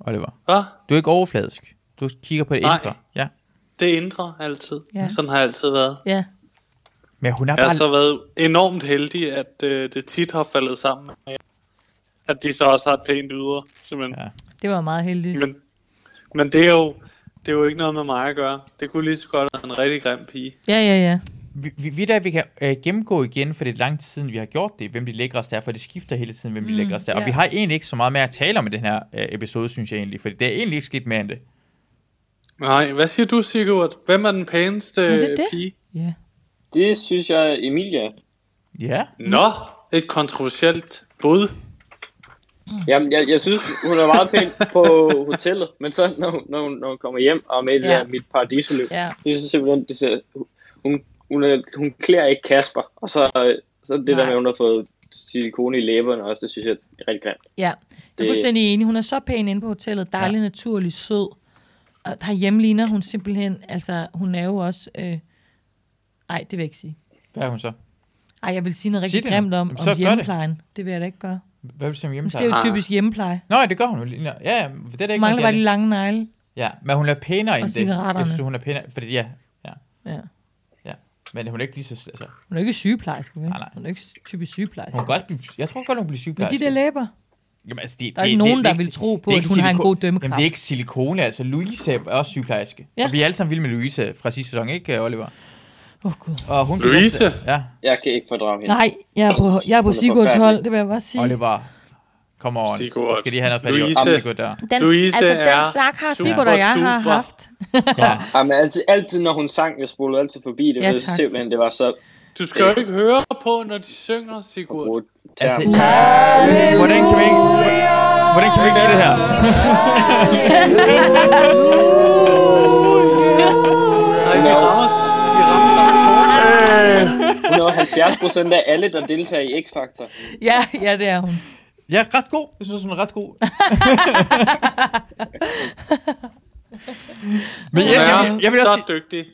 A: Oliver.
C: Hvad?
A: Du er ikke overfladisk. Du kigger på det
C: Nej.
A: indre. Ja.
C: Det indre altid.
E: Ja.
C: Ja. Sådan har jeg altid været.
E: Ja.
A: Men hun er
C: Jeg
A: bare...
C: har så været enormt heldig, at øh, det tit har faldet sammen med, at de så også har et pænt ydre. Simpelthen.
A: Ja.
C: Ja.
E: Det var meget heldigt.
C: Men, men det, er jo, det er jo ikke noget med mig at gøre. Det kunne lige så godt have været en rigtig grim pige.
E: Ja, ja, ja.
A: Vi, vi, vi, der, vi kan øh, gennemgå igen, for det er lang tid siden, vi har gjort det, hvem de lækreste er, for det skifter hele tiden, hvem de
E: Mm,
A: lækreste er.
E: ja.
A: Og vi har egentlig ikke så meget mere at tale om i den her øh, episode, synes jeg egentlig, for det er egentlig ikke sket mere end det.
C: Nej, hvad siger du, Sigurd? Hvem er den pæneste
E: Men det er
C: er
E: det.
C: pige?
E: Ja.
D: det synes jeg, Emilia.
A: Ja.
C: Nå, et kontroversielt bud.
D: Jamen, jeg, jeg synes, hun er meget pæn på hotellet. Men så, når, hun- når, hun, når hun kommer hjem og med
E: Ja.
D: ja. mit paradisoløb,
E: Ja.
D: Det er så simpelthen, det ser, hun, hun, er, hun klæder ikke Kasper, og så, så det Nej. der
E: Nej.
D: med, at hun har fået silikone i læberne også, det synes jeg er rigtig grimt.
E: Ja, jeg er
D: Det-
E: fuldstændig enig. Hun er så pæn inde på hotellet. Dejlig, ja. naturlig, sød. Og herhjemme ligner hun simpelthen... Altså, hun er jo også... Øh... Ej, det vil jeg ikke sige.
A: Hvad er hun så?
E: Ej, jeg vil sige noget
A: Sig
E: rigtig
A: det
E: grimt
A: nu.
E: om,
A: Jamen, så gør
E: om
A: det.
E: hjemmeplejen. Det. vil jeg da ikke gøre.
A: Hvad vil du sige om
E: Hun
A: hjemmeplejen?
E: er jo typisk hjemmepleje.
A: Nå, ja, det gør hun jo. lige nu. Ja, ja, det er da
E: Hun
A: ikke
E: mangler bare
A: noget,
E: de
A: Janne.
E: lange negle.
A: Ja, men hun er pænere end det.
E: cigaretterne.
A: Jeg synes, hun er pænere, fordi ja,
E: Ja.
A: men hun er ikke lige så... Altså,
E: Hun er ikke sygeplejerske, vel?
A: Nej, nej.
E: Hun er ikke typisk
A: hun
E: sygeplejerske.
A: kan godt blive, jeg tror godt, hun bliver
E: Men de
A: sygeplejerske.
E: der læber,
A: Jamen, altså, det,
E: der er ikke nogen, der vil tro på, at hun har en god dømmekraft.
A: Jamen, det er ikke silikone, altså. Louise er også sygeplejerske.
E: Ja.
A: Ja. Og vi er alle sammen vilde med Louise fra sidste sæson, ikke, øh, Oliver?
E: Åh, oh, Gud.
A: Og hun
C: Louise?
A: Ja,
D: Jeg kan ikke fordrage hende.
E: Nej, jeg er på, jeg er på
D: Hun er
E: Sigurds
D: forfærdelig.
E: hold, det vil jeg bare sige.
A: Oliver. Kom over.
C: Sigurd.
A: Skal de have noget fat i
C: Louise.
A: Louise. Sigurd der.
E: Den,
C: Louise
E: altså, den
C: er
E: snak har
C: super
E: Sigurd og jeg har
C: duper.
E: haft.
A: Ja.
D: Jamen, altid, altid når hun sang, jeg spolede altid forbi det,
E: Ja,
D: ja, det
E: tak.
D: simpelthen, det var så
C: Du skal jo ikke høre på, når de synger, Sigurd.
D: brudt.
A: Altså, hvordan kan vi ikke... Hvordan kan vi ikke lide det her?
C: Nej, vi rammer, s- vi rammer sammen tårne.
D: Hun er 70 procent af alle, der deltager i X-Factor.
E: Ja, ja, det er hun.
A: Ja, ret god. Jeg synes, hun er ret god. Men jeg,
C: Hun
A: jeg, jeg,
C: er
A: jeg, jeg vil også
C: så
A: sige,
C: dygtig.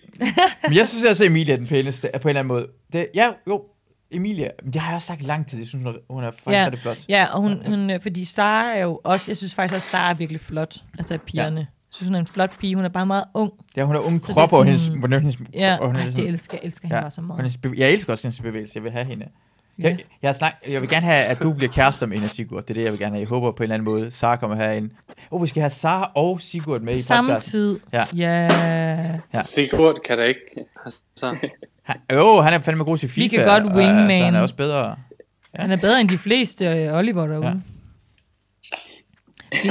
A: men jeg synes også, at Emilia er den pæneste, på en eller anden måde. Det, ja, jo, Emilia, men det har jeg også sagt i lang tid, jeg synes, hun er- hun er faktisk
E: Ja.
A: ja. flot.
E: Ja, og hun, hun, øh, fordi Sara er jo også, jeg synes faktisk også, Sara er virkelig flot, altså af pigerne. Ja. Jeg synes, hun er en flot pige, hun er bare meget ung.
A: Ja, hun har unge
E: det er
A: kroppe, og hendes,
E: sådan-
A: hvordan hendes,
E: Ja,
A: og ligesom-
E: Ej,
A: hendes,
E: det elsker, jeg elsker ja. hende bare så
A: og
E: meget.
A: hendes bev- jeg elsker også hendes bevægelse, jeg vil have hende.
E: Ja.
A: Jeg, jeg, har snak, jeg vil gerne have, at du bliver kærester med hende og Sigurd. Det er det, jeg vil gerne have. Jeg håber på en eller anden måde, Sara kommer herind. Åh, oh, vi skal have Sara og Sigurd med i
E: Samme
A: podcasten.
E: tid.
A: Ja.
E: ja.
A: Ja.
C: Sigurd kan da ikke. Altså,
A: Han- Jo, han er fandme god til FIFA.
E: Vi kan godt
A: og- øh,
E: wingman.
A: Så han er også bedre.
E: Han er bedre end de fleste øh, Oliver derude. Ja. Vi,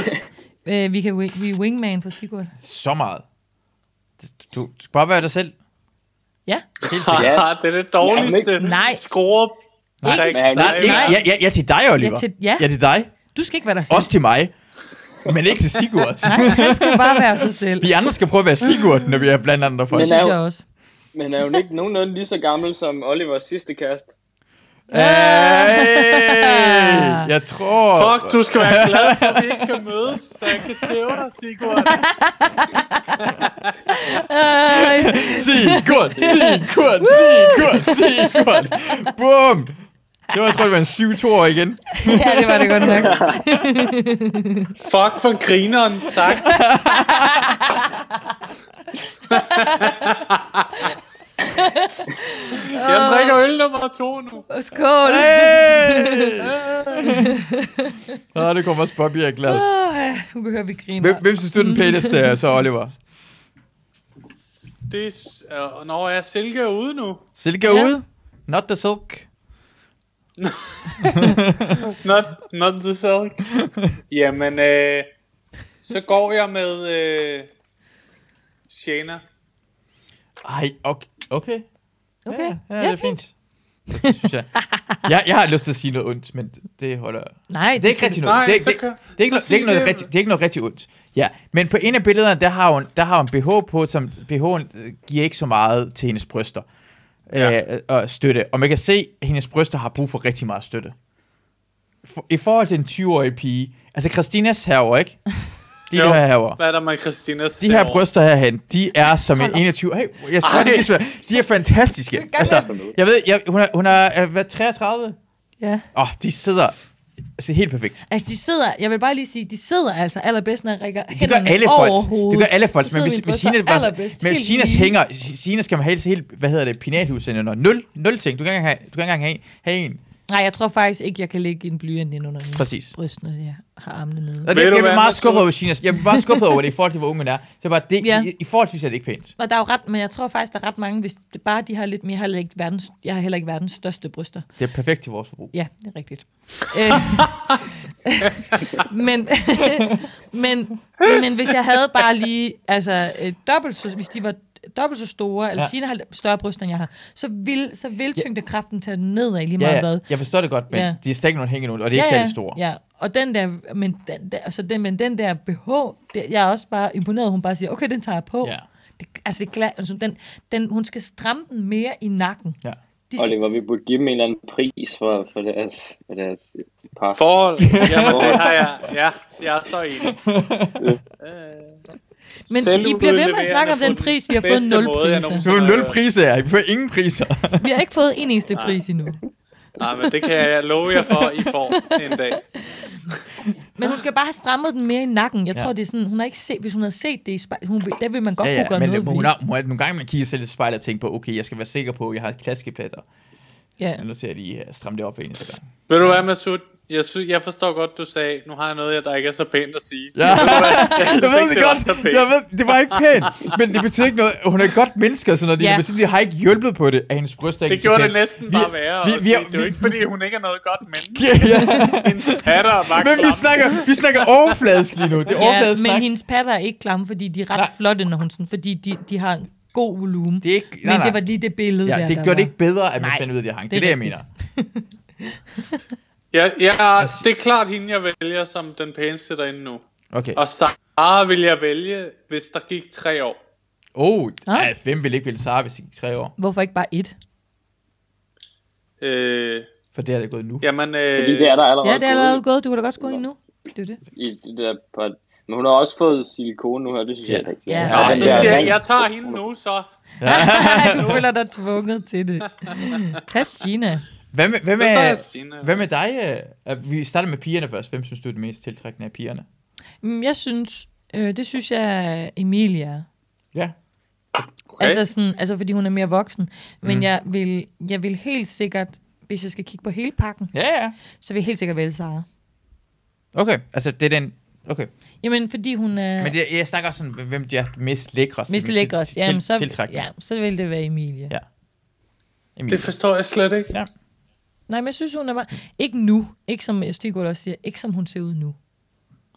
E: øh, vi kan wi- vi er wingman for Sigurd.
A: Så meget. Du, du skal bare være dig selv.
E: Ja.
A: Helt sikkert.
C: ja. det er det dårligste.
E: ikke- Nej.
C: Score.
E: Nej,
C: trick.
D: men han-
A: Nej, ikke,
E: Nej.
A: ja, ja, ja, til dig, Oliver.
E: Ja, til- ja.
A: ja, til dig.
E: Du skal ikke være dig selv.
A: Også til mig. Men ikke til Sigurd.
E: Nej, han skal bare være sig selv.
A: Vi andre skal prøve at være Sigurd, når vi er blandt andre folk.
D: Men
E: Det synes
D: er jo-
E: jeg også.
D: Men er hun ikke nogenlunde lige så gammel som Olivers sidste kæreste?
A: Hey, jeg tror...
C: Fuck, du skal være glad for, at vi ikke kan mødes, så jeg kan tæve dig, Sigurd.
A: Sigurd, Sigurd, Sigurd, Sigurd. Bum. Det var, jeg tror, det var en 7 år igen.
E: Ja, det var det godt nok.
C: Fuck, for grineren sagt. jeg drikker øl nummer to nu.
E: Skål.
A: Hey. Nå, det kommer også Bobby, jeg er glad.
E: Åh, ja, Nu behøver vi grine.
A: Hvem, hvem synes du er
E: Mm.
A: den pæneste er så, Oliver?
C: Det er, s- øh, når jeg silke er ude nu.
A: Silke er
E: Ja.
A: ude? Not the silk.
C: Not, not the silk. Jamen, øh, så går jeg med øh, Shana.
A: Ej, okay. okay.
E: Okay,
A: Ja, ja, det er fint. Det synes jeg. jeg. Jeg har lyst til at sige noget ondt, men det holder...
E: Nej,
A: Det er ikke rigtig noget.
C: Nej,
A: Det er ikke-
C: så
A: det-
C: kan-
A: det er ikke noget-
C: så
A: det er ikke
C: sig
A: noget
C: det.
A: rigtig- det er ikke noget rigtig ondt. Ja, men på en af billederne, der har hun, der har hun BH på, som BH'en øh, giver ikke så meget til hendes bryster. Ja. Øh, og støtte. Og man kan se, at hendes bryster har brug for rigtig meget støtte. For, I forhold til en 20-årig pige, altså Christinas herover ikke? De
C: Jo.
A: her herover.
C: Hvad er der med Christinas
A: De her
C: saver?
A: bryster herhen, de er som en 21... Hey, jeg skal lige svare. De er fantastiske. Altså, jeg ved, jeg, hun er, hun er øh, hvad, 33?
E: Ja.
A: Åh, oh, de sidder altså, helt perfekt.
E: Altså, de sidder, jeg vil bare lige sige, de sidder altså allerbedst, når jeg rækker
A: Det gør
E: hænderne
A: alle
E: over
A: folk.
E: hovedet.
A: Det gør alle folk.
E: Så
A: Men
E: sidder
A: hvis, hvis
E: mine bryster
A: Sine, bare,
E: allerbedst,
A: men hvis
E: helt
A: Sines
E: lige.
A: hænger, Sines kan man helst helt, hvad hedder det, pinathusene, når nul, nul ting. Du kan ikke engang have, du kan ikke engang have, have en.
E: Nej, jeg tror faktisk ikke, jeg kan lægge en blyant ind under mine
A: Præcis.
E: bryst, når jeg har armene nede.
A: Og det,
C: Ved
A: jeg
C: du,
A: bliver
C: hvad
A: meget
C: Anders
A: skuffet
C: Fogh-
A: over Sines. Jeg bliver meget skuffet over det i forhold til, hvor ung hun er. Så bare det,
E: Ja.
A: i, i forhold til, synes jeg, det er ikke pænt.
E: Og der er jo ret, men jeg tror faktisk, der er ret mange, hvis det bare de har lidt mere, jeg har, heller ikke verdens, jeg har heller ikke verdens største bryster.
A: Det er perfekt til vores forbrug.
E: Ja, det er rigtigt. Øh, men, men, men hvis jeg havde bare lige, altså øh, dobbelt så, hvis de var dobbelt så store, eller
A: Ja.
E: ja. Sina har lidt større bryster, end jeg har, så vil, så vil tyngdekraften tage den nedad lige meget
A: Ja,
E: hvad.
A: ja, jeg forstår det godt, men
E: Ja.
A: de er stadig nogle hængende ud, og det er ikke særlig store.
E: Ja, og den der, men den der, altså den, men den der BH, det, jeg er også bare imponeret, hun bare siger, okay, den tager jeg på.
A: Ja.
E: Det, altså, det, er gla- altså den, den, hun skal stramme den mere i nakken.
A: Ja.
E: De skal,
D: Oliver, vi burde give dem en eller anden pris for, for deres, for deres par.
C: Forhold. Jamen, det har jeg. Ja, jeg er så enig.
E: men I bliver ved med at snakke om
C: Selvudleverende
E: den pris, altså. vi har
C: på den
E: fået
C: bedste
E: nul
C: måde, jeg
E: priser.
A: Nu er
C: nogensinde
A: nul
C: har hørt.
A: priser her. I får ingen priser.
E: Vi har ikke fået en eneste pris endnu.
C: Nej, men det kan jeg love jer for, I får en dag.
E: Men hun skal bare have strammet den mere i nakken. Jeg
A: Ja.
E: tror, det er sådan, hun har ikke set, hvis hun havde set det i spejlet, hun, vil- der vil man godt
A: Ja,
E: kunne
A: ja,
E: gøre
A: men
E: noget
A: hun
E: ved.
A: har, hun har, nogle gange man kigger selv i spejlet og tænker på, okay, jeg skal være sikker på, at jeg har klaskepletter.
E: Ja.
A: Men nu ser jeg lige øh, stramme det op en eneste gang.
C: Ved du hvad, Masud? Jeg, sy- jeg forstår godt, du sagde, nu har jeg noget, jeg- der ikke er så pænt at sige.
A: Ja.
C: Jeg
A: Jeg
C: synes
A: ved
C: ikke,
A: det,
C: det var
A: godt.
C: så
A: Jeg
C: pænt.
A: ved, det var ikke pænt. Men det betyder ikke noget. Hun er et godt menneske og sådan noget.
E: Ja.
A: Ja. Men simpelthen har ikke hjulpet på det, at hendes bryst er ikke
C: Det gjorde
A: så
C: det
A: pænt.
C: næsten bare værre vi, vi, vi, Det er jo ikke, fordi hun ikke er noget godt menneske.
A: Ja,
C: Hendes patter er bare
A: Men vi
C: klamme.
A: snakker, vi snakker overfladisk lige nu. Det er
E: Ja,
A: overfladisk
E: men
A: snak.
E: hendes patter er ikke klamme, fordi de er ret
A: Nej.
E: flotte, når hun sådan, fordi de, de har en god volumen.
A: Det er ikke, nej,
E: Men
A: nej.
E: det var lige det billede
A: ja,
E: der,
A: det
E: der
A: gjorde det
E: var.
A: ikke bedre, at man
E: Nej,
A: fandt ud af, at det hang. Det
E: det
A: er
E: er
A: det, jeg mener.
E: rigtigt.
C: Ja, ja, det er klart hende, jeg vælger som den pæneste derinde nu.
A: Okay.
C: Og Sara vil jeg vælge, hvis der gik tre år.
A: Oh,
E: Ah.
A: ja, hvem vil ikke ville Sara, hvis det gik tre år?
E: Hvorfor ikke bare et?
C: Øh,
A: For det er det gået nu.
C: jamen, øh,
D: Fordi det er der allerede
E: Ja, det er
D: gået
E: allerede gået. Du kan da godt gå ind nu. Det er det.
D: i det der par. Men hun har også fået silikone nu her, det synes jeg er rigtig.
E: Ja.
D: godt.
C: Nå,
E: Ja,
D: den
C: Ah, så
D: der
C: siger jeg,
D: ring.
C: jeg tager hende nu så.
E: du føler dig tvunget til det. Tag Gina.
A: Hvad med, hvad
C: Så tager jeg
A: med,
C: Signe.
A: hvad med dig? øh, øh, Vi starter med pigerne først. Hvem synes du er det mest tiltrækkende af pigerne?
E: Mm, Jeg synes, øh, det synes jeg, Emilia er.
A: Ja.
C: Okay.
E: Altså, sådan, altså fordi hun er mere voksen. Men mm. jeg, vil, jeg vil helt sikkert, hvis jeg skal kigge på hele pakken,
A: Ja, ja.
E: så vil jeg helt sikkert vælge Sara.
A: Okay, altså det er den... Okay,
E: Jamen, fordi hun er
A: men
E: det,
A: det, jeg snakker også sådan, hvem de er mest lækrest.
E: mest
A: til-
E: lækker.
A: til-
E: Jamen, så,
A: Tiltrækkende.
E: ja, så vil det være Emilie.
A: Ja.
E: Ja.
A: Emilie.
C: Det forstår jeg slet ikke.
A: Ja.
E: Nej, men jeg synes, hun er bare... Ikke nu. Ikke som Stig også siger. Ikke som hun ser ud nu.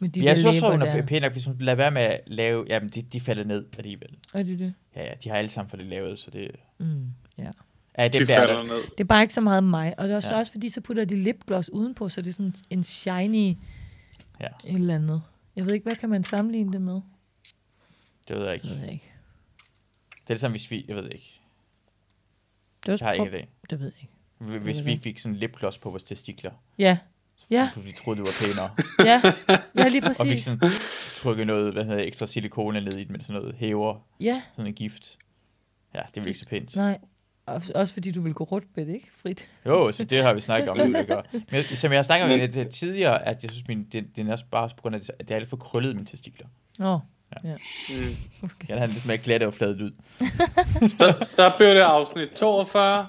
E: Med de
A: Ja, jeg
E: der
A: synes
E: læber
A: også, hun er
E: der.
A: pæn nok, hvis hun lader være med at lave... Jamen, de, de falder ned alligevel.
E: Er det det?
A: Ja, ja, de har alle sammen for det lavet, så det...
E: Mm.
A: Ja, det
C: De
A: bliver
C: falder
A: der.
C: ned.
E: Det er bare ikke så meget mig. Og det er også,
A: Ja.
E: ja. også fordi, så putter de lipgloss udenpå, så det er sådan en shiny
A: Ja.
E: ja. et eller andet. Jeg ved ikke, hvad kan man sammenligne det med?
A: Det ved jeg ikke.
E: Det ved jeg ikke.
A: Det er ligesom, hvis vi... Jeg ved ikke.
E: Det, er også
A: Jeg har
E: pro-
A: ikke det.
E: det ved jeg ikke.
A: Hvis vi fik sådan en lipgloss på vores testikler,
E: Ja, ja,
A: fordi vi troede, det var pænere,
E: ja. Ja, lige
A: og fik
E: præcis.
A: sådan trykket noget, hvad hedder det, ekstra silikone ned i den, med sådan noget hæver,
E: Ja,
A: sådan en gift. Ja, det er ikke så pænt.
E: nej. Og, også fordi du vil gå rundt med det, ikke? Frit.
A: Jo, så det har vi snakket om. det gør. Men, som jeg har snakket om lidt tidligere, at jeg synes, min, det, det er også bare på grund af, at det er alt for krøllet, mine testikler.
E: Nå,
C: Mm.
A: Jeg vil have lidt mere glat og fladet ud.
C: Så, så blev det afsnit 42.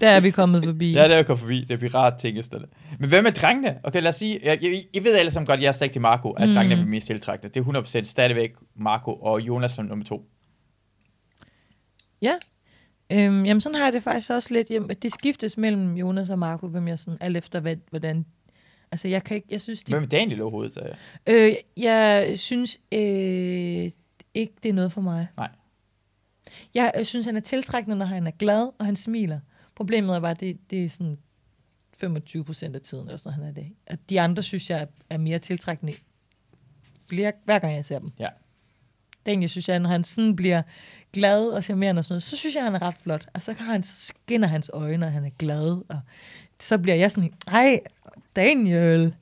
E: der er vi kommet forbi.
A: Ja, det er jo kommet forbi. Det er pirat ting sådan Men hvad med drengene? Okay, lad os sige, jeg, jeg, I ved alle sammen godt, jeg er stadig til Marco, at mm. drengene er min mest tiltrækkende. Det er 100% stadigvæk Marco og Jonas som nummer to.
E: Ja. Øhm, jamen, sådan har jeg det faktisk også lidt. Jamen, det skiftes mellem Jonas og Marco, hvem jeg sådan, alt efter, hvad, hvordan... Altså, jeg kan ikke... Jeg synes, de...
A: Hvem er Daniel overhovedet? Øh,
E: Øh, jeg synes øh, ikke, det er noget for mig.
A: Nej.
E: Jeg øh, synes, han er tiltrækkende, når han er glad, og han smiler. Problemet er bare, det, det er sådan 25 procent af tiden, eller sådan noget, han er det. Og de andre, synes jeg, er mere tiltrækkende flere, hver gang jeg ser dem.
A: Ja.
E: Den, jeg synes, jeg, når han sådan bliver glad og charmerende og sådan noget, så synes jeg, han er ret flot. Og så, kan han, så skinner hans øjne, og han er glad. Og så bliver jeg sådan, ej, Daniel.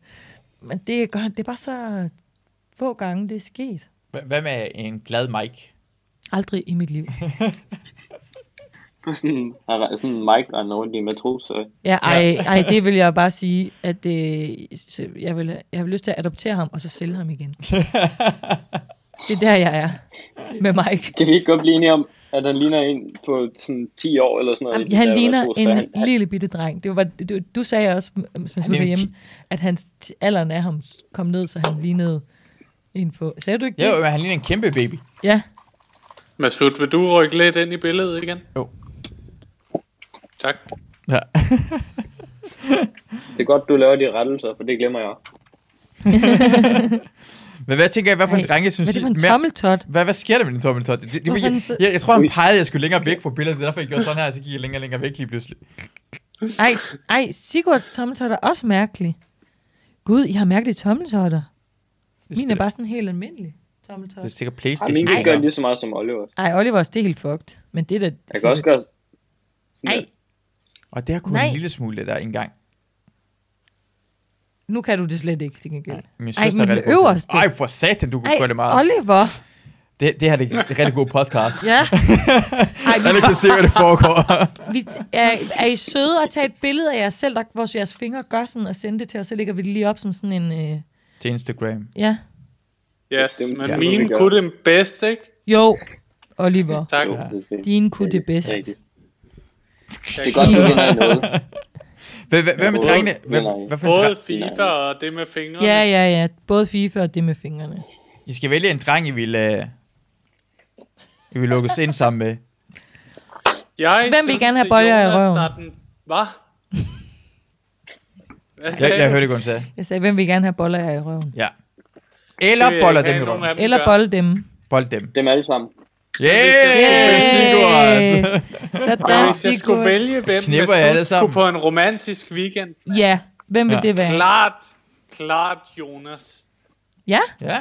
E: Men det, er godt- det er bare så få gange, det er sket.
A: hva- Hvad med en glad Mike?
E: Aldrig i mit liv.
D: Sådan, har- sådan Mike render rundt i matroser.
E: Ja, ej, ej det vil jeg bare sige, at øh, så jeg, vil, jeg vil lyst til at adoptere ham, og så sælge ham igen. Det er der, jeg er med Mike.
D: Kan vi ikke godt blive enige om, at han ligner en på sådan 10 år eller sådan noget? i
E: Jamen,
D: de
E: han
D: der
E: ligner
D: matroser? Han-
E: en lille bitte dreng. Det var, du, du sagde også, mens
A: Han
E: vi
A: er
E: var
A: en
E: hjemme, at hans t- alderen af ham kom ned, så han lignede en på... Sagde du ikke
A: Jo,
E: det?
A: men han ligner en kæmpe baby.
E: Ja.
C: Masud, vil du rykke lidt ind i billedet igen?
A: Jo.
C: Tak.
A: Ja.
D: Det er godt, du laver de rettelser, for det glemmer jeg.
A: Men hvad tænker jeg, hvad for en
E: Ej,
A: drenge synes
E: Hvad er det
A: I-
E: for en
A: mere-
E: tommeltot?
A: Hvad, hvad sker der med din tommeltot? Det, det, det,
E: Hvorfor er den
A: jeg,
E: så-
A: jeg, jeg, tror, han pegede, at jeg skulle længere væk fra billedet. Det er derfor, jeg gjorde sådan her, så gik jeg længere og længere væk lige pludselig.
E: Ej, ej, Sigurds tommeltot er også mærkelig. Gud, I har mærkelige tommeltotter. Min er bare sådan helt almindelig
A: Det
E: tommeltot.
A: er sikkert
D: Ej,
A: Playstation.
D: min kan
A: Ej,
D: gøre lige så meget som Oliver.
E: Ej, Olivers, det er helt fucked. Men det er da...
D: Jeg kan også gøre...
E: Ej,
A: Og det har kun
E: Nej.
A: en lille smule der engang.
E: nu kan du det slet ikke, til gengæld.
A: Min
E: Ej,
A: søster
E: men
A: er
E: den
A: rigtig god til-
E: øverste.
A: Ej, for satan, du kunne
E: Ej,
A: gøre det meget.
E: Oliver.
A: Det, det her det er en rigtig god podcast.
E: Ja. Ej,
A: Alle kan se, hvad det foregår.
E: vi, vi er, er I søde at tage et billede af jer selv, der, hvor jeres fingre gør sådan, og sende det til os, så lægger vi det lige op som sådan en... Øh,
A: Til Instagram.
E: ja.
C: Yes,
D: Det-
C: men
D: det må vi
C: mine
D: gøre.
C: kunne den bedste, ikke?
E: Jo, Oliver.
C: Tak.
D: Jo, det, det, det,
E: Din kunne det bedst.
D: Rigtigt.
C: Jeg
D: er godt, du vinder i noget.
A: Hvad, hvad, hvad med
D: Både-
A: drengene? Hvad,
D: nej.
A: hvad for en
C: Både
A: dreng?
C: FIFA og det med fingrene.
E: Ja, ja, ja. Både FIFA og det med fingrene.
A: I skal vælge en dreng, I vil, uh, I vil lukkes ind sammen med.
C: Jeg
E: Hvem vil
C: synes,
E: gerne have
C: det er
E: boller i
C: Jonas,
E: røven?
C: der er den- Hvad? Hvad
A: Jeg,
C: sagde
A: jeg
C: du?
A: hørte ikke, hvad hun sagde.
E: Jeg sagde, hvem vil gerne have boller jer i røven?
A: Ja. Eller
C: Det vil jeg
A: boller
C: ikke
A: dem i
C: have, nogen
A: røven.
C: af dem
E: Eller
C: gør.
E: bolle dem.
A: Bold dem.
D: Dem alle sammen.
A: Yeah!
E: Yay!
A: Sigurd!
C: Men
E: Sådan,
C: hvis jeg skulle
E: Sigurd.
C: vælge, hvem
A: Knipper
C: Masud
A: jer alle sammen.
C: skulle på en romantisk weekend,
E: Ja, hvem vil
A: Ja.
E: det være?
C: klart, klart Jonas.
E: Ja,
A: Ja.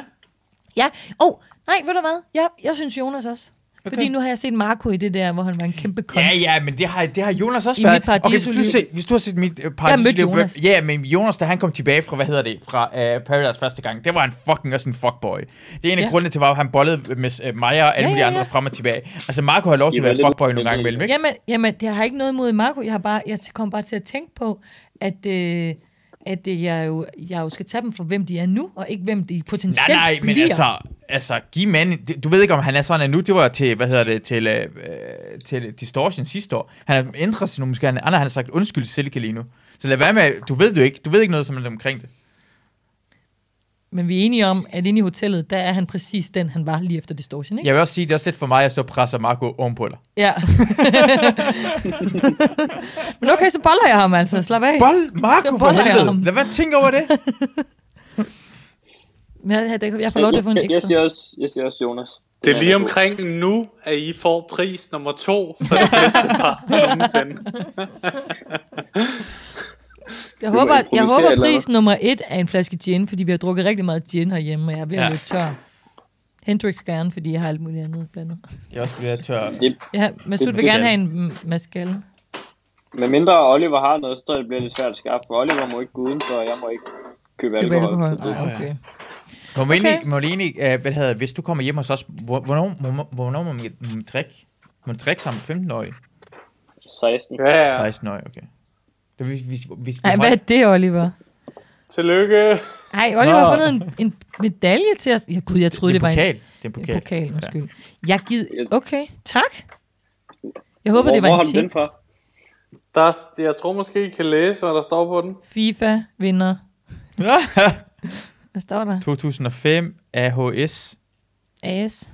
E: ja. Åh, oh, nej, ved du hvad? Ja, jeg synes Jonas også. Okay. Fordi nu har jeg set Marco i det der, hvor han var en kæmpe kont.
A: Ja, ja, men det har, det har Jonas også
E: I
A: været.
E: mit
A: okay, hvis du,
E: Paradiso-liv.
A: se, hvis du har set mit uh,
E: mødte
A: paradisliv...
E: Jonas.
A: Ja, men Jonas, da han kom tilbage fra, hvad hedder det, fra uh, Paradise første gang, det var han fucking også en fuckboy. Det er en af
E: Ja.
A: grundene til, at han bollede med uh, Maja og alle
E: Ja,
A: mulige
E: ja,
A: andre
E: ja.
A: frem og tilbage. Altså, Marco har lov til
D: Ja,
A: at være
D: det
A: en
D: er
A: fuckboy
D: lidt-
A: nogle gange imellem, ikke?
E: Jamen, jamen, jeg har ikke noget imod Marco. Jeg, har bare, jeg kom bare til at tænke på, at, øh, at øh, jeg, jo, jeg jo skal tage dem for, hvem de er nu, og ikke hvem de potentielt
A: Nej, nej, men
E: bliver.
A: altså, altså, giv manden... det- Du ved ikke, om han er sådan at nu. Det var til, hvad hedder det, til, øh, øh, til Distortion sidste år. Han har ændret sig nu, måske. Han, Anders, han har sagt undskyld til Silke lige nu. Så lad være med... Du ved jo ikke. Du ved ikke noget som omkring det.
E: Men vi er enige om, at inde i hotellet, der er han præcis den, han var lige efter Distortion, ikke?
A: Jeg vil også sige, det er også lidt for mig, at så presser Marco ovenpå dig.
E: Ja. men okay, så boller jeg ham altså. Slap af.
A: Bold,
E: Så
A: Marco, for
E: boller jeg ham.
A: helvede. Lad være tænke over det.
E: Jeg, jeg, jeg får lov til at få en
D: Jeg- jeg- Jeg
E: ekstra.
D: siger også, jeg siger også Jonas.
C: Det er
D: er
C: lige
D: god.
C: omkring nu, at I får pris nummer to for det bedste par nogensinde.
E: Jeg
D: Du må
E: håber, jeg
D: improvisere et
E: håber
D: eller andet.
E: pris nummer et er en flaske gin, fordi vi har drukket rigtig meget gin herhjemme, og jeg er ved at
A: Ja.
E: løbe tør. Hendrix gerne, fordi jeg har alt muligt andet blandet.
A: Jeg er også blevet tør.
D: Det,
E: Ja, Masud vil
D: betyder
E: gerne have en m- mascal.
D: med mindre Oliver har noget, så tror jeg, det bliver lidt svært at skaffe. For Oliver må ikke gå udenfor, og jeg må ikke købe
E: Køb
D: alkohol.
E: alkohol.
D: Så det-
E: Ej, okay.
A: Må man
E: Okay.
A: egentlig, må man egentlig øh, hvad hedder, det, hvis du kommer hjem hos os, hvor- hvornår, hvornår, hvornår må man, må man drikke? Må man drikke sammen 15-årige?
D: 16.
C: Ja, ja.
A: 16-årige, okay. Det, hvis, hvis, hvis,
E: Ej, hvad er det, Oliver?
C: Tillykke.
E: Ej, Oliver har
A: Nå.
E: fundet en, en medalje til os. Ja, gud, jeg troede,
A: det
E: det,
A: er en
E: var
A: pokal.
E: en,
A: Det er en pokal.
E: en pokal. Undskyld. Jeg gid... Okay, tak. Jeg
D: Hvor,
E: håber, det var
D: hvor har
E: en
D: du den
E: ting.
D: fra?
C: Der er, jeg tror måske, I kan læse, hvad der står på den.
E: FIFA vinder.
A: Ja.
E: Hvad står der?
A: 2005, AHS,
E: AS.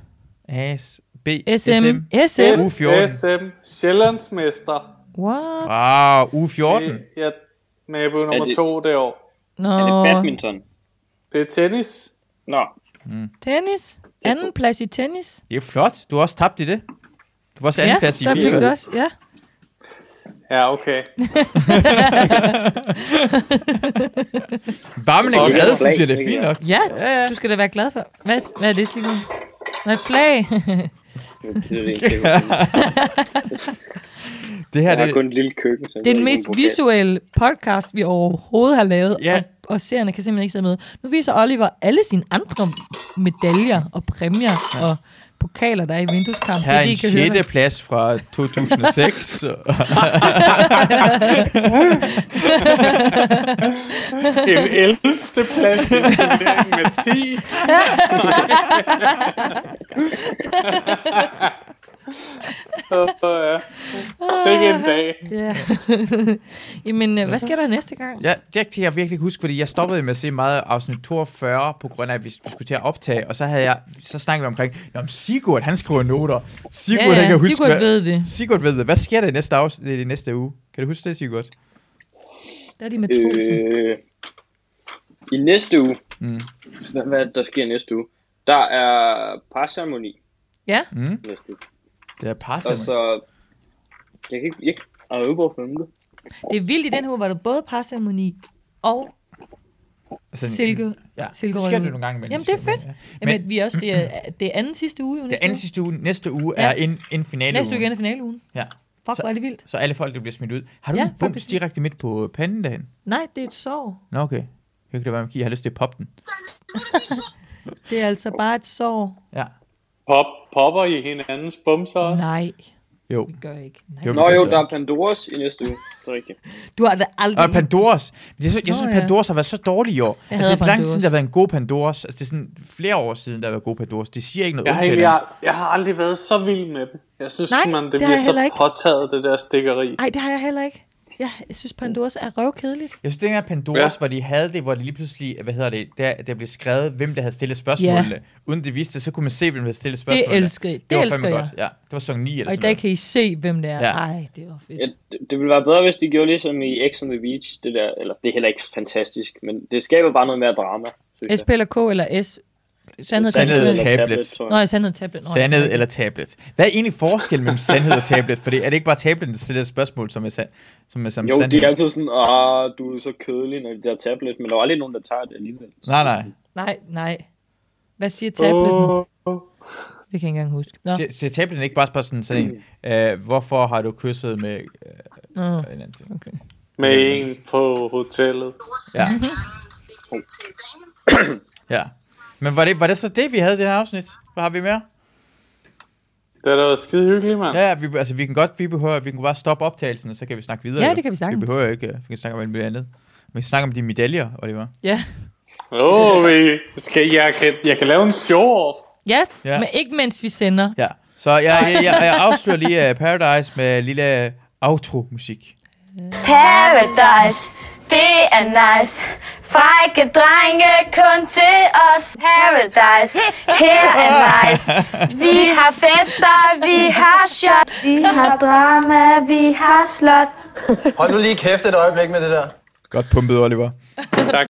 A: AS, B,
E: SM.
A: SM.
E: SM.
A: S. U14.
C: SM Sjællandsmester.
E: What?
A: Wow, uge 14.
C: Det er nabo
D: Er
C: nummer
D: det-
C: to det år.
E: Nå,
D: Er det badminton?
C: Det er tennis.
D: Nå,
E: tennis. Anden plads i tennis.
A: Det er flot. Du har også tabt i det. Du var også anden plads i
E: der fik du
A: FIFA.
E: også, ja.
C: Ja, okay.
A: Bare man er
D: Og
A: glad,
D: flag,
A: synes jeg, det er
D: ikke?
A: fint nok.
E: Ja,
A: ja.
E: du skal da være glad for. Hvad, hvad er det, Simon? Nej, flag.
D: det betyder det ikke. Det er-
A: Det her,
D: Jeg har
A: det,
D: kun et lille køkken. så
E: Det er
D: jeg
E: den
D: har
E: mest
D: ikke nogen pokal.
E: visuelle podcast, vi overhovedet har lavet,
A: Ja.
E: og, og seerne kan simpelthen ikke sidde med. Nu viser Oliver alle sine andre medaljer og præmier ja. og pokaler, der er i vindueskampen.
A: her er en 6. plads fra 2006.
C: En 11. plads i en turnering med 10. Åh, ja. Sikke en dag.
E: Ja. Jamen, øh, hvad sker der næste gang?
A: ja, det kan jeg virkelig ikke huske, fordi jeg stoppede med at se meget af afsnit 42, på grund af, at vi skulle til at optage, og så, havde jeg, så snakkede vi omkring, Nå, men Sigurd, han skriver noter. Sigurd,
E: ja,
A: han kan huske,
E: Sigurd
A: hvad,
E: ved det.
A: Sigurd ved det. Hvad sker der i næste, afsnit, i næste uge? Kan du huske det, Sigurd?
E: Der er de med trosen.
D: Øh, I næste uge,
A: Mm.
D: Hvad- hvad er det, der sker næste uge? Der er parceremoni
E: Ja,
A: Mm.
D: næste uge.
A: Det er parser.
D: Og
C: Altså,
D: så... Jeg kan ikke... Jeg har jo brugt det.
E: det er vildt i den her, uge, hvor der både parseremoni og
A: Altså,
E: silke.
A: Ja,
E: Silkerød.
A: det sker det nogle gange imellem.
E: Jamen, det er
A: siger man,
E: fedt.
A: Ja. Men
E: Jamen, vi er også, det, er, det er anden sidste uge. Jo,
A: det
E: næste
A: er anden
E: uge.
A: sidste uge, næste uge
E: Ja.
A: ja. er en, en finale
E: Næste uge igen er finaleugen.
A: Ja.
E: Fuck,
A: Så-
E: hvor er det vildt.
A: Så alle folk, der bliver smidt ud. Har du
E: Ja,
A: ja, en bums
E: faktisk.
A: direkte midt på panden derhen?
E: Nej, det er et sår.
A: Nå, okay. Jeg kan det være, at jeg har lyst til at poppe den.
E: Det er altså bare et sår.
A: Ja.
C: Pop, popper I hinandens bumser også?
E: Nej,
A: Jo.
E: vi gør ikke. Nej.
A: Jo,
D: Nå jo,
A: altså.
D: der er Pandoras i næste uge. Det er rigtigt.
E: Du har da aldrig...
A: Og Pandoras. Jeg synes, jeg
E: Nå,
A: synes
E: ja.
A: Pandoras har været så dårlig i år. Jeg altså,
E: hader
A: det er så lang tid,
E: Pandoras.
A: der har været en god Pandoras. Altså, det er sådan flere år siden, der har været god Pandoras. Det siger ikke noget
C: Jeg har,
A: ondt til
C: egentlig,
A: dem.
C: jeg, jeg har aldrig været så vild med dem. Jeg synes,
E: Nej,
C: Nej, man, det,
E: det har
C: bliver
E: jeg heller
C: så
E: ikke.
C: påtaget, det der stikkeri.
E: Nej, det har jeg heller ikke. Ja, jeg synes, Pandoras er røvkedeligt.
A: Jeg synes, det er Pandoras,
C: Ja.
A: ja. hvor de havde det, hvor det lige pludselig, hvad hedder det, der, der blev skrevet, hvem der havde stillet spørgsmålene. Uden det vidste, det, så kunne man se, hvem der havde stillet spørgsmålene.
E: elsker- det
A: var
E: elsker
A: fandme
E: jeg.
A: Godt. Ja, det var sæson 9 eller
E: Og i
A: sådan
E: dag
A: noget.
E: kan I se, hvem det er.
A: Ja.
E: Ej, det var fedt.
D: Ja, det- det ville være bedre, hvis de gjorde ligesom i X on the Beach. Det der, eller det er heller ikke fantastisk, men det skaber bare noget mere drama. synes jeg.
E: S, P eller K eller S.
A: Sandhed
E: Sandhed, tablet.
A: eller tablet.
D: tror jeg.
E: Nå, ja, sandhed tablet. Nå,
A: Sandhed eller tablet? Hvad er egentlig forskellen mellem sandhed og tablet? Fordi er det ikke bare tablet, der stiller et spørgsmål, som er, sand, som er som
D: Jo,
A: sandhed?
D: de er altid sådan, ah, du er så kedelig, når de der tablet, men der er aldrig nogen, der tager det alligevel.
A: Nej, nej.
E: Nej, nej. Hvad siger tablet?
C: Åh.
E: Det kan jeg ikke engang huske. Nå.
A: Siger- Siger tablen ikke bare spørge sådan, sådan en,
D: Mm.
A: øh, hvorfor har du kysset med... Øh,
E: Nå.
A: en anden ting?
E: Okay.
C: Med en på hotellet.
A: Ja.
D: Mm.
A: ja. Men var det, var det så det, vi havde i det her afsnit? Hvad har vi mere?
C: Det er da skide hyggeligt, mand.
A: Ja, ja, vi, altså, vi kan godt, vi behøver, vi kan bare stoppe optagelsen, og så kan vi snakke videre.
E: Ja,
A: jo.
E: det kan vi sagtens.
A: Vi behøver ikke, øh, vi kan snakke om alt muligt andet. Vi kan snakke om de medaljer, Oliver.
E: Ja.
C: Åh, oh, skal, jeg, kan, jeg kan lave en show-off.
E: Ja,
A: Ja.
E: ja, men ikke mens vi sender.
A: Ja, så jeg, jeg, jeg, jeg afslører lige øh, Paradise med lille øh, outro-musik.
F: Paradise, det er nice. Frække drenge kun til os. Paradise, her er nice. Vi har fester, vi har shot. Vi har drama, vi har slot.
G: Hold nu lige kæft et øjeblik med det der.
A: Godt pumpet, Oliver.
C: Der